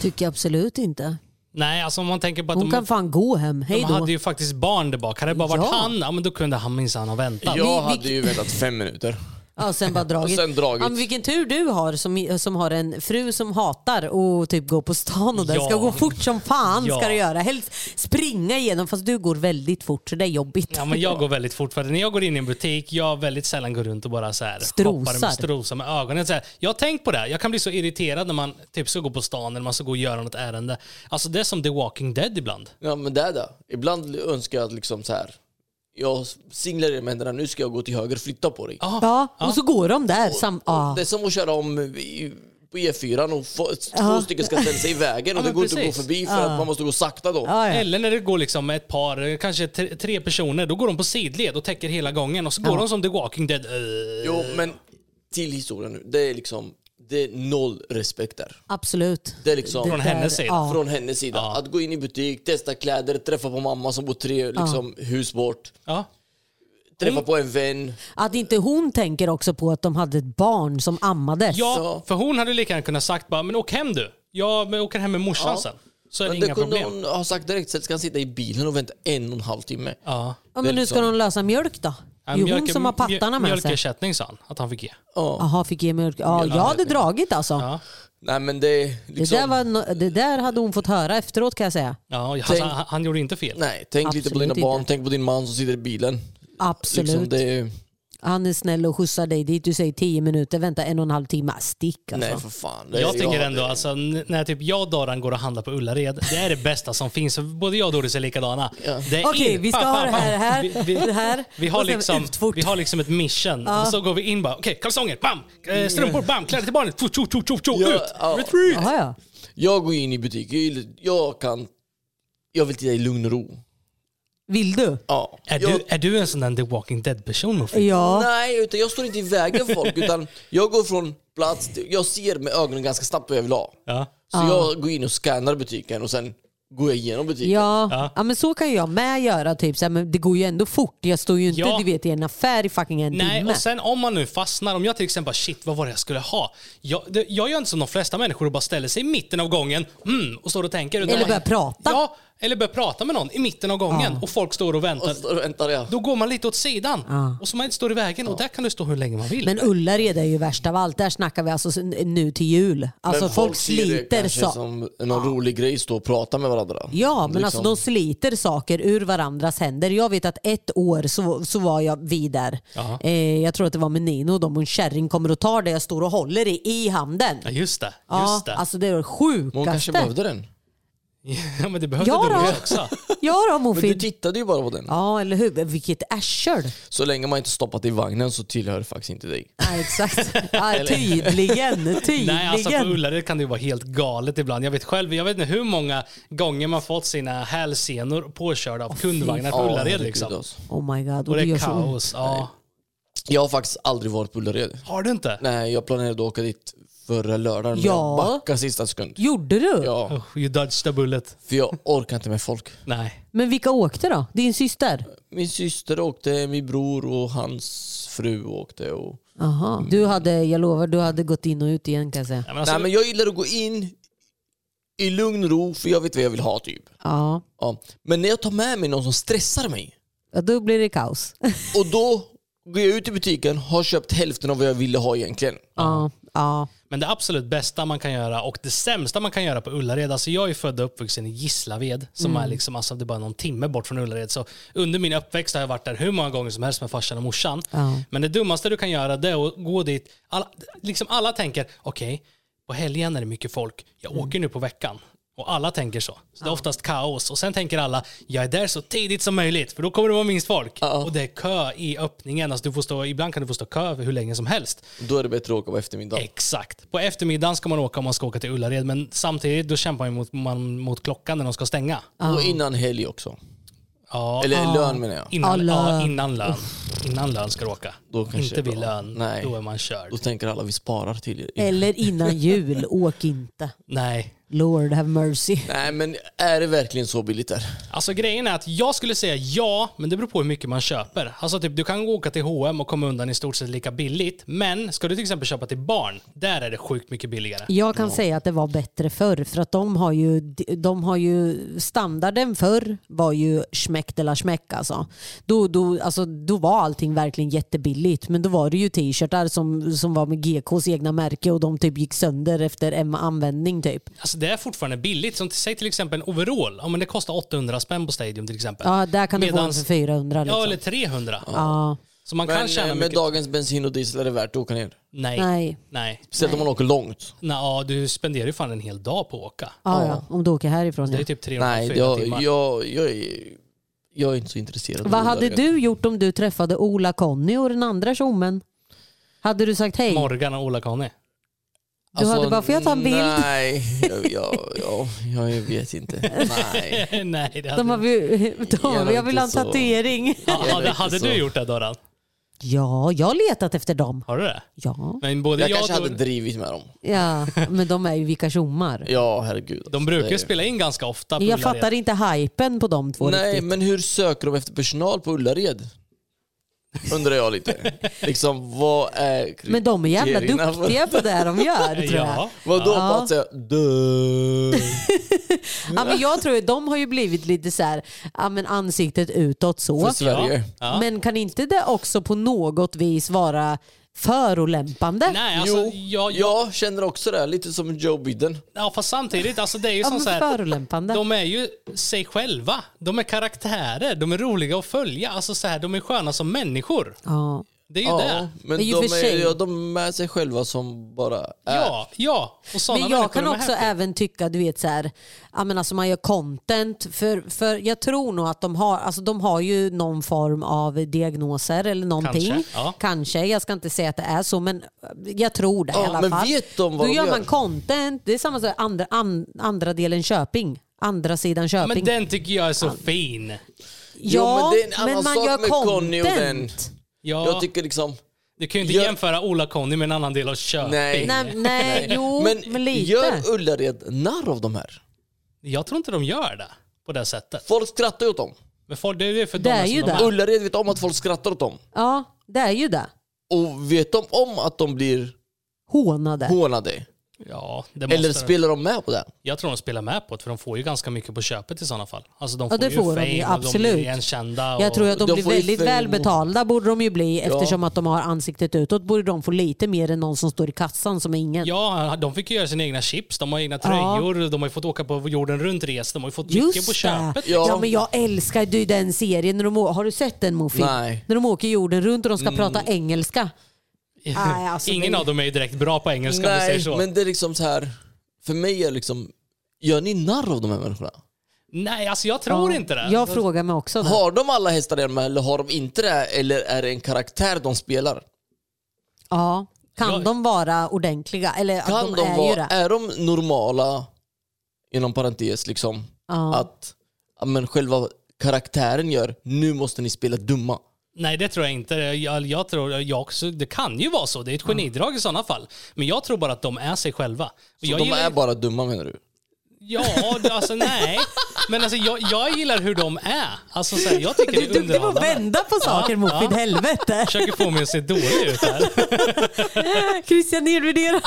Speaker 2: Tycker jag absolut inte.
Speaker 1: Nej, alltså om man tänker på att
Speaker 2: Hon
Speaker 1: de,
Speaker 2: kan fan gå hem, hej
Speaker 1: de
Speaker 2: då.
Speaker 1: hade ju faktiskt barn där bak. Hade det bara varit
Speaker 2: Ja.
Speaker 1: han, ja, men då kunde han minsann ha väntat.
Speaker 3: Jag
Speaker 2: vi-
Speaker 3: hade ju väntat fem minuter.
Speaker 2: Ja, sen bara dragit.
Speaker 3: Och sen dragit.
Speaker 2: Ja, men vilken tur du har som, som har en fru som hatar och typ gå på stan och den
Speaker 1: Ja.
Speaker 2: ska gå fort som fan
Speaker 1: Ja.
Speaker 2: ska du göra. Helst springa igenom fast du går väldigt fort så det är jobbigt.
Speaker 1: Ja, men jag går väldigt fort. För när jag går in i en butik, jag väldigt sällan går runt och bara så här,
Speaker 2: Strosar.
Speaker 1: hoppar med strosar med ögonen. Så här, jag har tänkt på det. här. Jag kan bli så irriterad när man typ ska gå på stan eller man ska gå och göra något ärende. Alltså det är som The Walking Dead ibland.
Speaker 3: Ja men det är det. Ibland önskar jag att liksom så här jag singlar er med händerna, nu ska jag gå till höger och flytta på dig.
Speaker 2: Ja, och så går de där. Sam- ja.
Speaker 3: Det är som att köra om i- på E E4 och få, två stycken ska ställa sig i vägen och
Speaker 1: Ja,
Speaker 3: det
Speaker 1: men
Speaker 3: går inte att gå
Speaker 1: precis.
Speaker 3: förbi för att man måste gå sakta då.
Speaker 2: Ja, ja.
Speaker 1: Eller när det går liksom ett par, kanske tre, tre personer, då går de på sidled och täcker hela gången och så går de som The Walking Dead. Eh,
Speaker 3: Jo, men till historien nu. Det är liksom, det är noll respekt där.
Speaker 2: Absolut.
Speaker 3: Det är liksom...
Speaker 1: Från
Speaker 2: där-
Speaker 1: hennes sida.
Speaker 2: ja.
Speaker 3: Från hennes sida. Att gå in i butik, testa kläder, träffa på mamma som bor tre liksom, hus bort.
Speaker 1: Ja.
Speaker 3: Träffa
Speaker 2: Mm.
Speaker 3: på en vän.
Speaker 2: Att inte hon tänker också på att de hade ett barn som ammades.
Speaker 1: ja,
Speaker 3: Så.
Speaker 1: för hon hade lika gärna kunnat sagt bara, men åk hem du. Jag åker hem med morsan sen. Så är det
Speaker 3: Men det
Speaker 1: inga
Speaker 3: kunde
Speaker 1: problem.
Speaker 3: hon ha sagt direkt, sen ska han sitta i bilen och vänta en och en halv timme.
Speaker 1: Ja.
Speaker 2: Ja, men
Speaker 3: Det är
Speaker 2: nu ska de lösa mjölk då?
Speaker 1: Ja,
Speaker 2: Jo, hon
Speaker 1: mjölk-
Speaker 2: som har pattarna
Speaker 1: mjö-
Speaker 2: med sig.
Speaker 1: Mjölkersättning sa han att han fick ge.
Speaker 2: Jaha, fick ge mjölk. Ja, jag hade dragit alltså.
Speaker 3: Nej men det är
Speaker 2: Det,
Speaker 3: liksom...
Speaker 2: där var, no- det där hade hon fått höra efteråt kan jag säga.
Speaker 1: Ja, han,
Speaker 3: Tänk-
Speaker 1: han, han gjorde inte fel.
Speaker 3: Nej, tänk lite på
Speaker 2: Absolut
Speaker 3: dina barn,
Speaker 2: inte.
Speaker 3: tänk på din man som sitter i bilen.
Speaker 2: Absolut.
Speaker 3: Liksom det är...
Speaker 2: Han är snäll och skjutsar dig dit. Du säger 10 minuter, vänta en och en halv timme. Stick alltså.
Speaker 3: Nej för fan. Det är-
Speaker 1: Jag tänker ändå,
Speaker 3: det-
Speaker 1: alltså, n- när typ jag och Doran går och handlar på Ullared, det är det bästa som finns. Både jag och Doris är likadana. Det är
Speaker 2: Okej,
Speaker 1: in-
Speaker 2: vi ska
Speaker 1: fan,
Speaker 2: ha det
Speaker 1: fan,
Speaker 2: här,
Speaker 1: fan.
Speaker 2: här,
Speaker 1: Vi- vi-
Speaker 2: det här.
Speaker 1: Vi har,
Speaker 2: och sen
Speaker 1: liksom,
Speaker 2: utfort.
Speaker 1: vi har liksom ett mission. Och så går vi in bara, okej, kalsonger, bam! Eh, Strumpor, bam! Kläder till barnet, tjo, tjo, tjo, tjo, tjo,
Speaker 3: Ja,
Speaker 1: ut!
Speaker 3: ja.
Speaker 1: Retreat!
Speaker 2: Jaha, ja.
Speaker 3: Jag går in i butik, jag- jag kan... Jag vill titta i lugn och ro.
Speaker 2: Vill du?
Speaker 3: Ja.
Speaker 1: Är,
Speaker 3: jag...
Speaker 1: du, är du en sån där The Walking Dead-person, Muffin?
Speaker 2: Ja.
Speaker 3: Nej, utan jag står inte i vägen för folk utan jag går från plats till, Jag ser med ögonen ganska snabbt vad jag vill ha.
Speaker 1: Ja.
Speaker 3: Så jag går in och scannar butiken och sen går jag igenom butiken.
Speaker 2: Ja.
Speaker 1: Ja.
Speaker 2: Ja. men så kan jag med göra. Typ. Så här, men det går ju ändå fort. Jag står ju inte
Speaker 1: Ja.
Speaker 2: du vet, i en affär i fucking en
Speaker 1: Nej,
Speaker 2: timme.
Speaker 1: och sen om man nu fastnar, om jag till exempel bara, shit vad var det jag skulle ha? Jag, det, jag gör inte som de flesta människor och bara ställer sig i mitten av gången mm, och står och tänker. utan
Speaker 2: Eller
Speaker 1: man-
Speaker 2: börjar prata.
Speaker 1: Ja, eller börjar prata med någon i mitten av gången och folk står och väntar.
Speaker 3: Och så väntar jag.
Speaker 1: Då går man lite åt sidan och så man inte står i vägen och där kan du stå hur länge man vill.
Speaker 2: Men Ullared är ju värst av allt. Där snackar vi alltså sen- nu till jul. Alltså
Speaker 3: Men
Speaker 2: folk,
Speaker 3: ser det
Speaker 2: sliter
Speaker 3: kanske
Speaker 2: så.
Speaker 3: som någon rolig grej, stå och prata med varandra.
Speaker 2: Ja, men
Speaker 3: Liksom.
Speaker 2: alltså de sliter saker ur varandras händer. Jag vet att ett år så, så var jag vid där. Eh, jag tror att det var med Nino och de och en kärring kommer och tar det jag står och håller i, i handen.
Speaker 1: Ja, just det. Just det.
Speaker 2: alltså det är det
Speaker 3: Men Hon
Speaker 2: sjukaste.
Speaker 3: kanske behövde den.
Speaker 1: ja, men det behövde
Speaker 2: Ja,
Speaker 1: Doris
Speaker 2: då.
Speaker 1: också.
Speaker 2: Ja då
Speaker 3: Men du
Speaker 2: Mofid.
Speaker 3: tittade ju bara på den.
Speaker 2: Ja eller hur, vilket ärsel.
Speaker 3: Så länge man inte stoppat i vagnen så tillhör det faktiskt inte dig.
Speaker 2: Ja, exakt. Ja, tydligen, tydligen.
Speaker 1: Nej, alltså på Ullared kan det ju vara helt galet ibland. Jag vet själv, jag vet inte hur många gånger man fått sina hälsenor påkörda av kundvagnar på Ullared
Speaker 3: herregud,
Speaker 1: liksom.
Speaker 3: alltså.
Speaker 2: oh my god.
Speaker 1: Och det
Speaker 2: gör
Speaker 1: är
Speaker 2: så ont.
Speaker 1: kaos. Ja.
Speaker 3: Jag har faktiskt aldrig varit på Ullared.
Speaker 1: Har du inte?
Speaker 3: Nej, jag planerade att åka dit förra lördagen men
Speaker 2: Ja.
Speaker 3: jag backade sista sekund.
Speaker 2: Gjorde du?
Speaker 3: Ja,
Speaker 1: Oh, you dodged the bullet.
Speaker 3: för jag orkar inte med folk.
Speaker 1: Nej.
Speaker 2: Men vilka åkte då? Din syster?
Speaker 3: Min syster åkte, min bror och hans fru åkte. Och...
Speaker 2: Aha. Du hade, jag lovar, du hade gått in och ut igen kan jag säga.
Speaker 1: Ja, men alltså,
Speaker 3: Nej men jag gillar att gå in i lugn och ro för jag vet vad jag vill ha typ.
Speaker 2: Ja.
Speaker 3: Ja. Men när jag tar med mig någon som stressar mig
Speaker 2: ja, då blir det kaos.
Speaker 3: och då går jag ut i butiken har köpt hälften av vad jag ville ha egentligen.
Speaker 2: Ja, ja.
Speaker 1: Men det absolut bästa man kan göra och det sämsta man kan göra på Ullared, alltså jag är född och uppvuxen i Gislaved som är liksom, alltså det är bara någon timme bort från Ullared. Så under min uppväxt har jag varit där hur många gånger som helst med farsan och morsan.
Speaker 2: Ja.
Speaker 1: Men det dummaste du kan göra det är att gå dit, alla, liksom alla tänker okej, på helgen är det mycket folk, jag åker nu på veckan. Och alla tänker så. Så det är oftast kaos. Och sen tänker alla, jag är där så tidigt som möjligt för då kommer det vara minst folk. Och det är kö i öppningen. Alltså du får stå, ibland kan du få stå kö hur länge som helst.
Speaker 3: Då är det bättre att åka på eftermiddagen.
Speaker 1: Exakt. På eftermiddagen ska man åka om man ska åka till Ullared, men samtidigt då kämpar man mot, man mot klockan när de ska stänga.
Speaker 3: Och innan helg också.
Speaker 1: Ja,
Speaker 3: Eller lön menar jag.
Speaker 1: innan,
Speaker 2: Alla-
Speaker 1: ja, innan lön. Innan lön ska du åka.
Speaker 3: Då kanske
Speaker 1: inte
Speaker 3: det är bra.
Speaker 1: vid lön,
Speaker 3: Nej.
Speaker 1: då är man körd.
Speaker 3: Då tänker alla vi sparar till
Speaker 2: Eller innan jul, åk inte.
Speaker 1: Nej.
Speaker 2: Lord have mercy.
Speaker 3: Nej men är det verkligen så billigt där?
Speaker 1: Alltså grejen är att jag skulle säga ja, men det beror på hur mycket man köper. Alltså typ du kan åka till H&M och komma undan i stort sett lika billigt, men ska du till exempel köpa till barn, där är det sjukt mycket billigare.
Speaker 2: Jag kan säga att det var bättre förr för att de har ju, de har ju standarden förr var ju smäck eller smäck alltså. Då, då, alltså. då var allting verkligen jättebilligt men då var det ju t-shirtar som, som var med GKs egna märke och de typ gick sönder efter en användning typ.
Speaker 1: Alltså det är fortfarande billigt. Som till, säg till exempel en overall, ja, men det kostar 800 spänn på Stadium till exempel.
Speaker 2: Ja, där kan du få en
Speaker 1: Medans-
Speaker 2: för 400 liksom.
Speaker 1: Ja, eller 300.
Speaker 2: Ja.
Speaker 1: Så man kan
Speaker 3: Men
Speaker 1: tjäna
Speaker 3: eh, med
Speaker 1: mycket.
Speaker 3: dagens bensin och diesel är det värt att åka ner.
Speaker 1: Nej. Nej.
Speaker 2: Nej.
Speaker 1: Nej.
Speaker 3: Speciellt om man åker långt.
Speaker 1: ja, du spenderar ju fan en hel dag på att åka.
Speaker 2: Ja, ja. Om du åker härifrån
Speaker 1: Det
Speaker 2: ja.
Speaker 1: är typ 3-4
Speaker 3: Nej, jag,
Speaker 1: timmar.
Speaker 3: jag, jag, är- jag är inte så intresserad. av
Speaker 2: Vad hade
Speaker 3: bolagen.
Speaker 2: du gjort om du träffade Ola-Conny och den andra tjommen? Hade du sagt hej?
Speaker 1: Morgan och Ola Conny.
Speaker 2: Du hade bara, får jag ta en bild?
Speaker 3: Alltså, Nej, jag, jag, jag, jag, vet inte. Nej.
Speaker 1: Nej, det hade,
Speaker 2: De har, vi- de har, vi- jag vill ha en
Speaker 3: Inte så.
Speaker 2: tatuering.
Speaker 3: det är
Speaker 1: hade,
Speaker 3: inte
Speaker 1: hade
Speaker 3: så.
Speaker 1: du gjort det Doran?
Speaker 2: Ja, jag har letat efter dem.
Speaker 1: Har du det?
Speaker 2: Ja,
Speaker 1: Men både
Speaker 3: Jag
Speaker 1: jag,
Speaker 3: kanske
Speaker 1: och
Speaker 3: hade
Speaker 1: Dor-
Speaker 3: drivit med dem.
Speaker 2: ja men de är ju vilka tjommar.
Speaker 3: Ja, herregud. alltså,
Speaker 1: De brukar
Speaker 3: det är-
Speaker 1: ju spela in ganska ofta. på
Speaker 2: Jag
Speaker 1: Ullared.
Speaker 2: fattar inte hypen på de två
Speaker 3: Nej,
Speaker 2: riktigt.
Speaker 3: men hur söker de efter personal på Ullared? Undrar jag lite. liksom, vad är
Speaker 2: Men de är jävla
Speaker 3: kriterierna för-
Speaker 2: duktiga på det de gör tror jag.
Speaker 1: Ja.
Speaker 3: Vadå
Speaker 2: Ja.
Speaker 3: bara att säga dö?
Speaker 2: Ja, men jag tror att de har ju blivit lite så här, ja, men ansiktet utåt så.
Speaker 3: För Sverige.
Speaker 1: Ja.
Speaker 2: Men kan inte det också på något vis vara förolämpande?
Speaker 1: Nej, alltså,
Speaker 3: jo,
Speaker 1: jag, jag,
Speaker 3: jag känner också det. Lite som Joe Biden.
Speaker 1: ja, fast samtidigt, alltså, det är ju
Speaker 2: ja,
Speaker 1: som
Speaker 2: men
Speaker 1: så här,
Speaker 2: förolämpande.
Speaker 1: de är ju sig själva. De är karaktärer, de är roliga att följa. Alltså, så här, de är sköna som människor.
Speaker 2: Ja.
Speaker 1: Det är ju
Speaker 3: Ja,
Speaker 1: det.
Speaker 3: men
Speaker 2: Men ju
Speaker 3: de,
Speaker 2: för sig.
Speaker 3: är, ja, de är sig själva som bara är.
Speaker 1: Ja, ja. Och såna
Speaker 2: Äh. Men
Speaker 1: människor
Speaker 2: jag kan
Speaker 1: de är
Speaker 2: också
Speaker 1: happy.
Speaker 2: även tycka, du vet så här, ja, men alltså man gör content. För, för jag tror nog att de har, alltså de har ju någon form av diagnoser eller någonting.
Speaker 1: Kanske, ja.
Speaker 2: Kanske, jag ska inte säga att det är så men jag tror det i
Speaker 3: Ja,
Speaker 2: alla
Speaker 3: men
Speaker 2: fall.
Speaker 3: vet de vad
Speaker 2: Då
Speaker 3: de
Speaker 2: gör
Speaker 3: gör?
Speaker 2: man content, det är samma sak andra, an, andra delen Köping. Andra sidan Köping.
Speaker 1: Men den tycker jag är så fin.
Speaker 2: ja,
Speaker 3: Jo, men det är en annan
Speaker 2: men man
Speaker 3: sak
Speaker 2: gör
Speaker 3: med
Speaker 2: content.
Speaker 3: Conny och den.
Speaker 1: Ja,
Speaker 3: Jag tycker liksom...
Speaker 1: du kan ju inte
Speaker 3: jag-
Speaker 1: jämföra Ola-Conny med en annan del av Köping.
Speaker 3: Nej.
Speaker 2: Nej, nej, jo, men, lite.
Speaker 3: gör Ullared narr av de här?
Speaker 1: Jag tror inte de gör det på det sättet.
Speaker 3: Folk skrattar ju åt dem.
Speaker 1: Men folk, det är ju för
Speaker 2: Det
Speaker 1: dem
Speaker 2: är
Speaker 1: som
Speaker 2: ju
Speaker 1: de
Speaker 2: det.
Speaker 1: är.
Speaker 3: Ullared vet om att folk skrattar åt dem.
Speaker 2: Ja, det är ju det.
Speaker 3: Och vet de om att de blir
Speaker 2: Hånade.
Speaker 3: hånade?
Speaker 1: Ja, det måste
Speaker 3: Eller
Speaker 1: de.
Speaker 3: spelar de med på det?
Speaker 1: Jag tror de spelar med på det, för de får ju ganska mycket på köpet i sådana fall. Alltså de
Speaker 2: Ja,
Speaker 1: får
Speaker 2: det
Speaker 1: ju
Speaker 2: får de
Speaker 1: fame
Speaker 2: ju,
Speaker 1: och
Speaker 2: absolut.
Speaker 1: de blir igenkända. Och...
Speaker 2: Jag tror att de,
Speaker 3: De
Speaker 2: blir
Speaker 3: får ju
Speaker 2: väldigt
Speaker 3: fame.
Speaker 2: välbetalda borde de ju bli eftersom att de har ansiktet utåt borde de få lite mer än någon som står i kassan som är ingen.
Speaker 1: Ja, de fick ju göra sina egna chips, de har egna tröjor, de har ju fått åka på jorden runt-resor, de har ju fått mycket på
Speaker 2: Just det.
Speaker 1: köpet.
Speaker 2: Ja.
Speaker 3: Ja.
Speaker 2: men jag älskar ju den serien. När de, å- har du sett den Mufi?
Speaker 3: Nej. Mm.
Speaker 2: När de åker jorden runt och de ska prata engelska. Nej, alltså,
Speaker 1: Ingen
Speaker 2: det-
Speaker 1: av dem är ju direkt bra på engelska om vi säger
Speaker 3: Nej,
Speaker 1: så.
Speaker 3: men det är liksom så här. För mig är liksom, gör ni narr av de här människorna?
Speaker 1: Nej, alltså jag tror
Speaker 2: Ja.
Speaker 1: inte det.
Speaker 2: Jag frågar mig också det.
Speaker 3: Har de alla hästar hemma eller har de inte det? Eller är det en karaktär de spelar?
Speaker 2: Ja. Kan
Speaker 1: Jag-
Speaker 2: de vara ordentliga? Eller
Speaker 3: Kan
Speaker 2: de,
Speaker 3: de,
Speaker 2: är ju
Speaker 3: vara,
Speaker 2: det.
Speaker 3: är de normala, inom parentes liksom,
Speaker 2: Ja.
Speaker 3: att ja, men själva karaktären gör, nu måste ni spela dumma.
Speaker 1: Nej, det tror jag inte. Jag, jag tror, jag också, det kan ju vara så. Det är ett genidrag i sådana fall. Men jag tror bara att de är sig själva. Och
Speaker 3: Så
Speaker 1: jag
Speaker 3: de
Speaker 1: gillar-
Speaker 3: är bara dumma menar du?
Speaker 1: Ja, det- alltså nej. Men alltså, jag, jag gillar hur de är. Alltså, så här, jag tycker
Speaker 2: Du
Speaker 1: det
Speaker 2: är
Speaker 1: är
Speaker 2: duktig på att
Speaker 1: underhållande.
Speaker 2: vända på saker Mufi, helvete.
Speaker 1: Försöker få mig att se dålig ut här.
Speaker 2: Christian nedvärderar.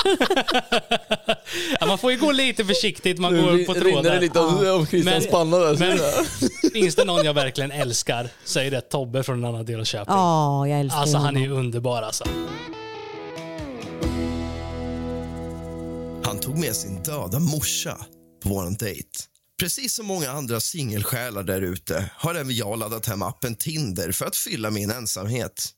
Speaker 1: Ja, man får ju gå lite försiktigt, man går på
Speaker 3: rinner det
Speaker 1: trådar.
Speaker 3: lite av, av alltså? Christians
Speaker 1: Men-
Speaker 3: panna där.
Speaker 1: Men
Speaker 3: så där.
Speaker 1: finns det någon jag verkligen älskar så är det Tobbe från en annan del av Köping.
Speaker 2: Ja, jag älskar
Speaker 1: Alltså han är
Speaker 2: honom.
Speaker 1: ju
Speaker 3: Mm.
Speaker 1: underbar alltså.
Speaker 4: Han tog med sin döda morsa på våran dejt. Precis som många andra singelsjälar där ute har även jag laddat hem appen Tinder för att fylla min ensamhet.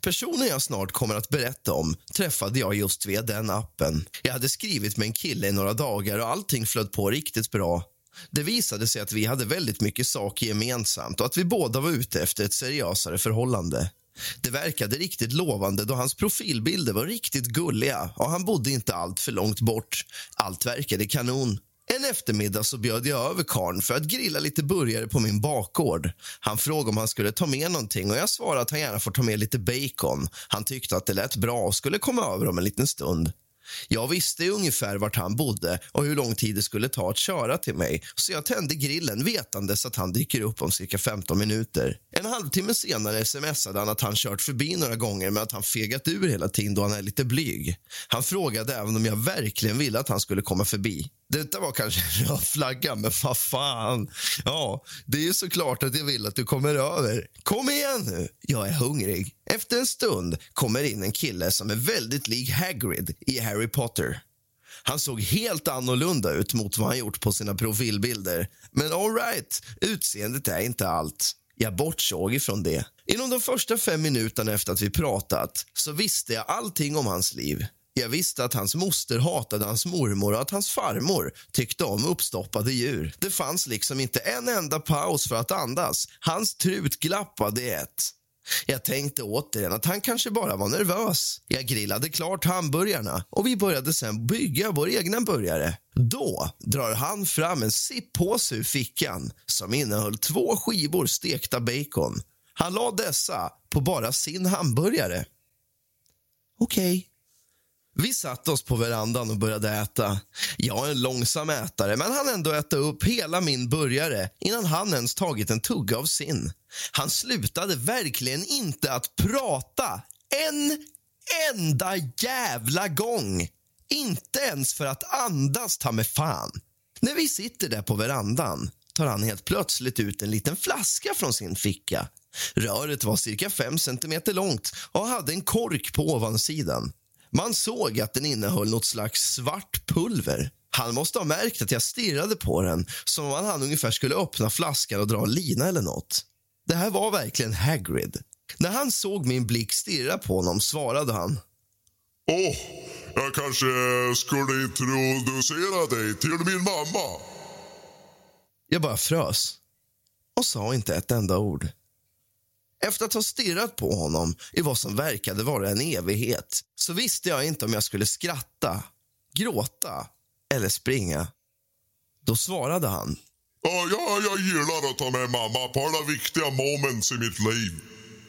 Speaker 4: Personen jag snart kommer att berätta om träffade jag just via den appen. Jag hade skrivit med en kille i några dagar och allting flöt på riktigt bra. Det visade sig att vi hade väldigt mycket saker gemensamt och att vi båda var ute efter ett seriösare förhållande. Det verkade riktigt lovande då hans profilbilder var riktigt gulliga och han bodde inte allt för långt bort. Allt verkade kanon. En eftermiddag så bjöd jag över karn för att grilla lite burgare på min bakgård. Han frågade om han skulle ta med någonting och jag svarade att han gärna får ta med lite bacon. Han tyckte att det lät bra och skulle komma över om en liten stund. Jag visste ungefär vart han bodde och hur lång tid det skulle ta att köra till mig så jag tände grillen vetandes att han dyker upp om cirka 15 minuter. En halvtimme senare smsade han att han kört förbi några gånger men att han fegat ur hela tiden då han är lite blyg. Han frågade även om jag verkligen ville att han skulle komma förbi. Detta var kanske en röd flagga, men vad fan. Ja, det är ju såklart att jag vill att du kommer över. Kom igen nu, jag är hungrig. Efter en stund kommer in en kille som är väldigt lik Hagrid i Harry Potter. Han såg helt annorlunda ut mot vad han gjort på sina profilbilder. Men all right, utseendet är inte allt. Jag bortsåg ifrån det. Inom de första fem minuterna efter att vi pratat så visste jag allting om hans liv. Jag visste att hans moster hatade hans mormor och att hans farmor tyckte om uppstoppade djur. Det fanns liksom inte en enda paus för att andas. Hans trut glappade i ett. Jag tänkte återigen att han kanske bara var nervös. Jag grillade klart hamburgarna och vi började sen bygga vår egna burgare. Då drar han fram en sippåse ur fickan som innehöll två skivor stekta bacon. Han la dessa på bara sin hamburgare. Okej. Vi satte oss på verandan och började äta. Jag är en långsam ätare, men han ändå äta upp hela min burgare innan han ens tagit en tugga av sin. Han slutade verkligen inte att prata en enda jävla gång. Inte ens för att andas, ta mig fan. När vi sitter där på verandan tar han helt plötsligt ut en liten flaska från sin ficka. Röret var cirka fem centimeter långt och hade en kork på ovansidan. Man såg att den innehöll något slags svart pulver. Han måste ha märkt att jag stirrade på den som om han ungefär skulle öppna flaskan och dra en lina eller något. Det här var verkligen Hagrid. När han såg min blick stirra på honom svarade han.
Speaker 5: Åh, jag kanske skulle introducera dig till min mamma.
Speaker 4: Jag bara frös och sa inte ett enda ord. Efter att ha stirrat på honom i vad som verkade vara en evighet så visste jag inte om jag skulle skratta, gråta eller springa. Då svarade han.
Speaker 5: Ja, ja, jag gillar att ta med mamma på alla viktiga moments i mitt liv.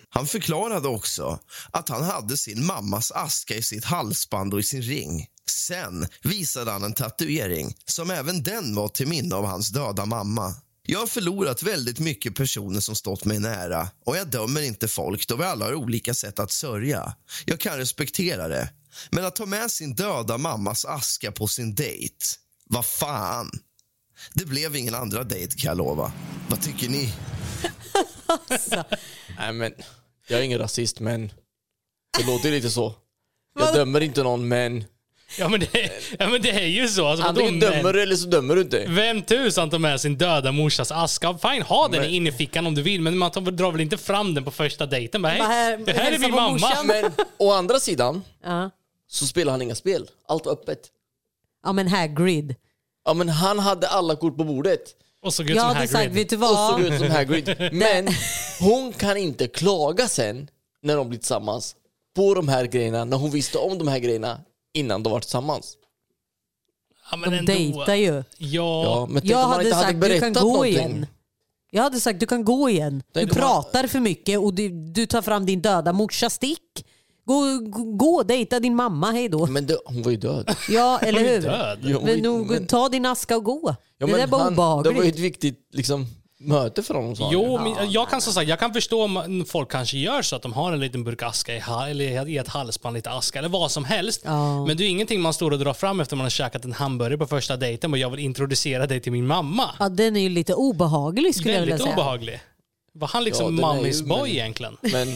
Speaker 4: Han förklarade också att han hade sin mammas aska i sitt halsband och i sin ring. Sen visade han en tatuering som även den var till minne av hans döda mamma. Jag har förlorat väldigt mycket personer som stått mig nära och jag dömer inte folk då vi alla har olika sätt att sörja. Jag kan respektera det. Men att ta med sin döda mammas aska på sin dejt, vad fan? Det blev ingen andra dejt kan jag lova. Vad tycker ni?
Speaker 3: Nej men, jag är ingen rasist men det låter lite så. Jag
Speaker 2: Vadå?
Speaker 3: dömer inte någon men
Speaker 1: Ja men det, ja, men det är ju så. Alltså, vadå,
Speaker 3: antingen
Speaker 1: men-
Speaker 3: dömer du eller så dömer du inte.
Speaker 1: Vem tusan tar med sin döda morsas aska? Fine, ha den inne i fickan om du vill, men man tar, drar väl inte fram den på första dejten? Bara,
Speaker 2: Bara här-
Speaker 1: hej, det här är
Speaker 2: hälsa
Speaker 1: min
Speaker 2: på
Speaker 1: mamma.
Speaker 2: morsan.
Speaker 3: Men å andra sidan
Speaker 2: Ja.
Speaker 3: så spelar han inga spel. Allt var öppet.
Speaker 2: ja men Hagrid.
Speaker 3: Ja men han hade alla kort på bordet.
Speaker 1: Och så gud
Speaker 2: Jag
Speaker 1: som
Speaker 2: hade sagt,
Speaker 1: Hagrid.
Speaker 2: vet du
Speaker 3: och såg
Speaker 2: vad?
Speaker 3: ut som Hagrid. Men hon kan inte klaga sen när de blir tillsammans på de här grejerna, när hon visste om de här grejerna innan de var tillsammans.
Speaker 1: Ja, men
Speaker 2: De
Speaker 1: ändå.
Speaker 2: dejtar ju.
Speaker 1: Ja.
Speaker 3: Ja, men tänk
Speaker 2: Jag
Speaker 3: om man
Speaker 2: hade
Speaker 3: inte
Speaker 2: sagt,
Speaker 3: hade
Speaker 2: du
Speaker 3: berättat
Speaker 2: kan gå
Speaker 3: någonting.
Speaker 2: igen. Jag hade sagt, du kan gå igen. Du
Speaker 3: Tänk om man-
Speaker 2: pratar för mycket och du, du tar fram din döda morsa. Stick! Gå, gå, gå dejta din mamma, hej då.
Speaker 3: Men det, hon var ju död.
Speaker 2: Ja, eller
Speaker 1: är
Speaker 2: hur?
Speaker 1: död.
Speaker 3: Jo,
Speaker 2: Men, nog-
Speaker 3: men-
Speaker 2: ta din aska och gå.
Speaker 3: Ja,
Speaker 2: det
Speaker 3: men
Speaker 2: där var
Speaker 3: han-
Speaker 2: obehagligt.
Speaker 3: Det var ju ett viktigt liksom, möte för honom sa han ju.
Speaker 1: Jo, men jag kan som sagt, jag kan förstå om folk kanske gör så att de har en liten burk aska i, ha- eller i ett halsband, lite aska eller vad som helst.
Speaker 2: Ja.
Speaker 1: Men det är ju ingenting man står och drar fram efter man har käkat en hamburgare på första dejten och jag vill introducera dig till min mamma.
Speaker 2: Ja, den är ju lite obehaglig skulle jag vilja
Speaker 1: Väldigt
Speaker 2: säga.
Speaker 1: obehaglig. Var han liksom
Speaker 3: Ja, den är ju-
Speaker 1: mammis boy
Speaker 3: men-
Speaker 1: egentligen?
Speaker 3: Men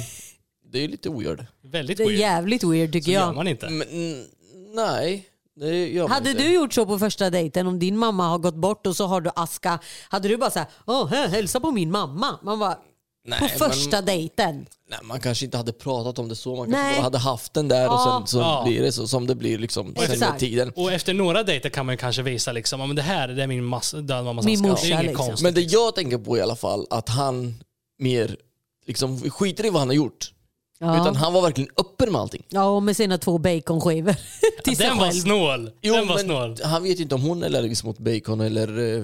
Speaker 3: det är ju lite ogörd.
Speaker 1: Väldigt
Speaker 2: Det är
Speaker 1: weird.
Speaker 2: jävligt weird tycker
Speaker 1: Det gör
Speaker 2: jag.
Speaker 1: man inte.
Speaker 3: Men, mm, nej, det gör man
Speaker 2: Hade
Speaker 3: inte.
Speaker 2: du gjort så på första dejten om din mamma har gått bort och så har du aska. Hade du bara såhär, åh hä, hälsa på min mamma. Man bara,
Speaker 3: nej,
Speaker 2: på
Speaker 3: men-
Speaker 2: första dejten.
Speaker 3: Nej, man kanske inte hade pratat om det så. Man kanske
Speaker 2: Nej.
Speaker 3: bara hade haft den där och
Speaker 2: Ja.
Speaker 3: sen så
Speaker 1: Ja.
Speaker 3: blir det så som det blir liksom sen
Speaker 2: Exakt.
Speaker 3: med tiden.
Speaker 1: Och efter några dejter kan man ju kanske visa liksom, "Ja, men det här det är min mas- döda mammas
Speaker 2: Min
Speaker 1: aska." Det är
Speaker 2: morsa,
Speaker 1: inget
Speaker 2: liksom.
Speaker 1: konstigt.
Speaker 3: Men det jag tänker på i alla fall, att han mer liksom skiter i vad han har gjort.
Speaker 2: Ja.
Speaker 3: Utan han var verkligen öppen med allting.
Speaker 2: Ja, och med sina två baconskivor. Till sig
Speaker 1: Den var
Speaker 2: själv.
Speaker 1: snål. Den var snål.
Speaker 3: han vet ju inte om hon är allergisk mot bacon eller... eh,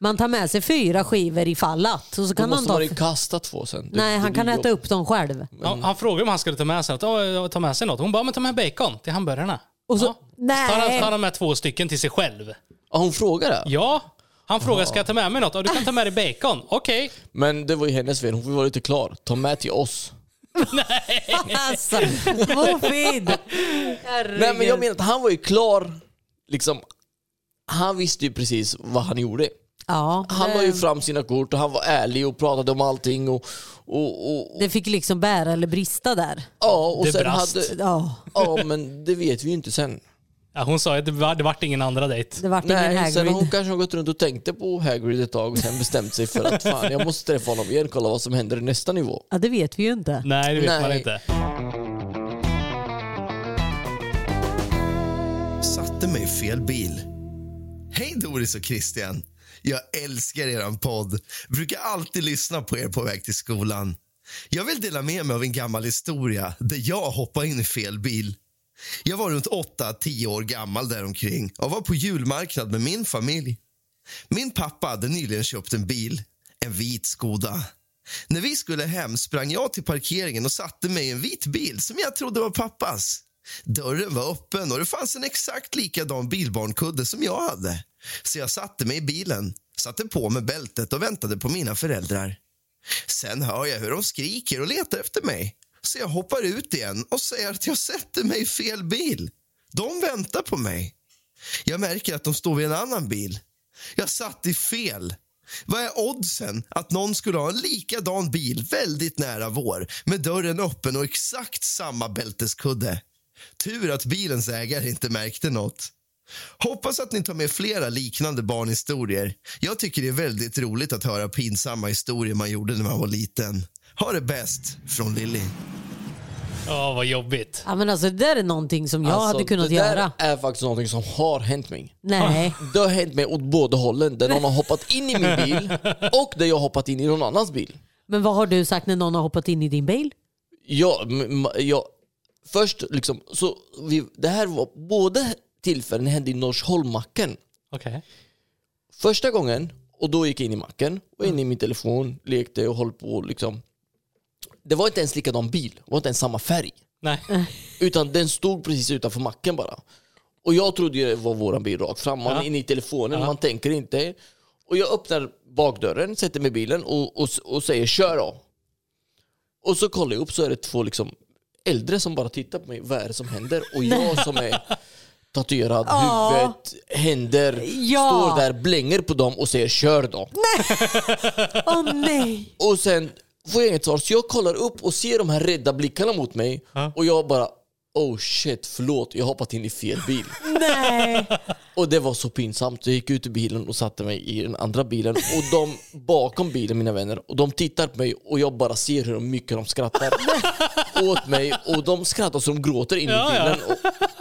Speaker 2: Man tar med sig fyra skivor i fallat. Och så
Speaker 3: Då
Speaker 2: kan man
Speaker 3: måste
Speaker 2: ta...
Speaker 3: man ju kasta två sen. Det-
Speaker 2: Nej,
Speaker 3: det
Speaker 2: han
Speaker 3: blir
Speaker 2: kan
Speaker 3: ju-
Speaker 2: äta upp dem själv.
Speaker 1: Han, han frågade om han skulle ta med sig något. "Ja, jag tar med sig något. Hon bara, men ta med bacon till hamburgarna.
Speaker 2: Och så,
Speaker 1: Ja. Tar han,
Speaker 2: nej.
Speaker 1: tar han med två stycken till sig själv?
Speaker 3: Ja, hon frågar det.
Speaker 1: Ja. Han frågar, ska jag ta med mig något? Ja, du kan ta med dig bacon. Okej.
Speaker 3: Men det var ju hennes fel. Hon får ju vara lite klar. Ta med till oss.
Speaker 2: Alltså, Mofid!
Speaker 3: Nej, men jag menar att han var ju klar. Liksom, han visste ju precis vad han gjorde.
Speaker 2: Ja,
Speaker 3: Han la ju fram sina kort och han var ärlig och pratade om allting. Och, och, och, och,
Speaker 2: det fick liksom bära eller brista där.
Speaker 3: ja, och
Speaker 1: Det
Speaker 3: sen
Speaker 1: brast.
Speaker 3: hade...
Speaker 2: Ja,
Speaker 3: Ja, men det vet vi ju inte sen.
Speaker 1: Ja, hon sa att det, var, det vart ingen andra dejt.
Speaker 2: det vart ingen
Speaker 3: Nej, sen har hon
Speaker 2: Hagrid.
Speaker 3: kanske har gått runt och tänkte på Hagrid ett tag och sen bestämt sig för att fan, jag måste träffa honom igen kolla vad som händer i nästa nivå.
Speaker 2: Ja, det vet vi ju inte.
Speaker 1: Nej, det vet
Speaker 3: Nej.
Speaker 1: man inte.
Speaker 4: mig i fel bil. Hej Doris och Christian. Jag älskar er podd. Brukar alltid lyssna på er på väg till skolan. Jag vill dela med mig av en gammal historia där jag hoppade in i fel bil. Jag var runt 8-10 år gammal däromkring och var på julmarknad med min familj. Min pappa hade nyligen köpt en bil, en vit Skoda. När vi skulle hem sprang jag till parkeringen och satte mig i en vit bil som jag trodde var pappas. Dörren var öppen och det fanns en exakt likadan bilbarnkudde som jag hade. Så jag satte mig i bilen, satte på mig bältet och väntade på mina föräldrar. Sen hör jag hur de skriker och letar efter mig. Så jag hoppar ut igen och säger att jag sätter mig i fel bil. De väntar på mig. Jag märker att de står vid en annan bil. Jag satt i fel. Vad är oddsen att någon skulle ha en likadan bil väldigt nära vår med dörren öppen och exakt samma bälteskudde? Tur att bilens ägare inte märkte något. Hoppas att ni tar med flera liknande barnhistorier. Jag tycker det är väldigt roligt att höra pinsamma historier man gjorde när man var liten. Ha det bäst, från Lilly.
Speaker 1: Ja, vad jobbigt.
Speaker 2: Ja, men alltså, det där är någonting som jag
Speaker 3: Alltså,
Speaker 2: hade kunnat
Speaker 3: det där
Speaker 2: göra.
Speaker 3: är faktiskt någonting som har hänt mig.
Speaker 2: Nej.
Speaker 3: Det har hänt mig åt båda hållen. Där någon har hoppat in i min bil och där jag har hoppat in i någon annans bil.
Speaker 2: Men vad har du sagt när någon har hoppat in i din bil?
Speaker 3: Ja, m- m- ja, först liksom, så vi, det här var båda tillfällen hände i Norsholmacken.
Speaker 1: Okej.
Speaker 3: Första gången, och då gick jag in i macken, var inne i min telefon, lekte och höll på liksom. Det var inte ens likadan bil, det var inte ens samma färg.
Speaker 1: Nej.
Speaker 3: Utan den stod precis utanför macken bara. Och jag trodde ju det var våran bil rakt fram. Man
Speaker 1: Ja.
Speaker 3: är inne i telefonen,
Speaker 1: Ja.
Speaker 3: man tänker inte. Och jag öppnar bakdörren, sätter mig i bilen och, och, och säger kör då. Och så kollar jag upp så är det två liksom äldre som bara tittar på mig. Vad är det som händer? Och jag som är tatuerad,
Speaker 2: Ja.
Speaker 3: huvudet, händer,
Speaker 2: Ja.
Speaker 3: står där, blänger på dem och säger kör då.
Speaker 2: Åh nej!
Speaker 3: Och sen får jag inget svar, så jag kollar upp och ser de här rädda blickarna mot mig. Och jag bara, oh shit, förlåt, jag har hoppat in i fel bil.
Speaker 2: Nej!
Speaker 3: och det var så pinsamt, så jag gick ut ur bilen och satte mig i den andra bilen. Och de bakom bilen, mina vänner, och de tittar på mig och jag bara ser hur mycket de skrattar åt mig. Och de skrattar så de gråter in i
Speaker 1: Ja, ja.
Speaker 3: bilen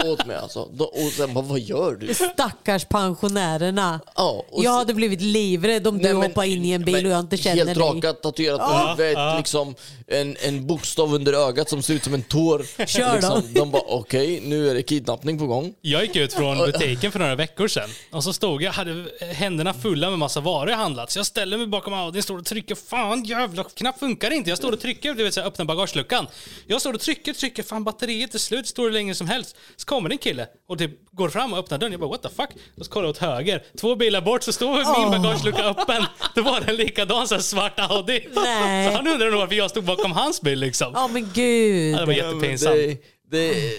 Speaker 3: och, åt mig alltså. De- Och sen bara, vad gör du?
Speaker 2: Stackars pensionärerna.
Speaker 3: Ja, och
Speaker 2: jag
Speaker 3: så-
Speaker 2: hade blivit livrädd om du
Speaker 3: Nej, men-
Speaker 2: hoppar in i en bil
Speaker 3: men
Speaker 2: och jag inte känner
Speaker 3: Helt
Speaker 2: dig.
Speaker 3: rakat, tatuerat på huvudet, liksom, en, en bokstav under ögat som ser ut som en tår. Liksom.
Speaker 2: Kör då.
Speaker 3: de bara okej, nu är det kidnappning på gång.
Speaker 1: Jag gick ut från butiken för några veckor sedan och så stod jag, hade händerna fulla med massa varor jag handlat. Så jag ställer mig bakom Audin, står och trycker. Fan jävla knapp funkar inte. Jag står och trycker, du vet så jag öppnar bagageluckan. Jag står och trycker, trycker, fan batteriet är slut, står hur länge som helst. Så kommer det en kille och typ går fram och öppnar dörren. Jag bara what the fuck? Och så kollar jag åt höger, två bilar bort så står min bagagelucka öppen. Det var en likadan så här svart Audi.
Speaker 2: Nej.
Speaker 1: Så han undrar nog varför jag stod bakom hans bil liksom.
Speaker 2: Ja men gud.
Speaker 1: Ja, Det var jättepinsamt.
Speaker 3: Det, det,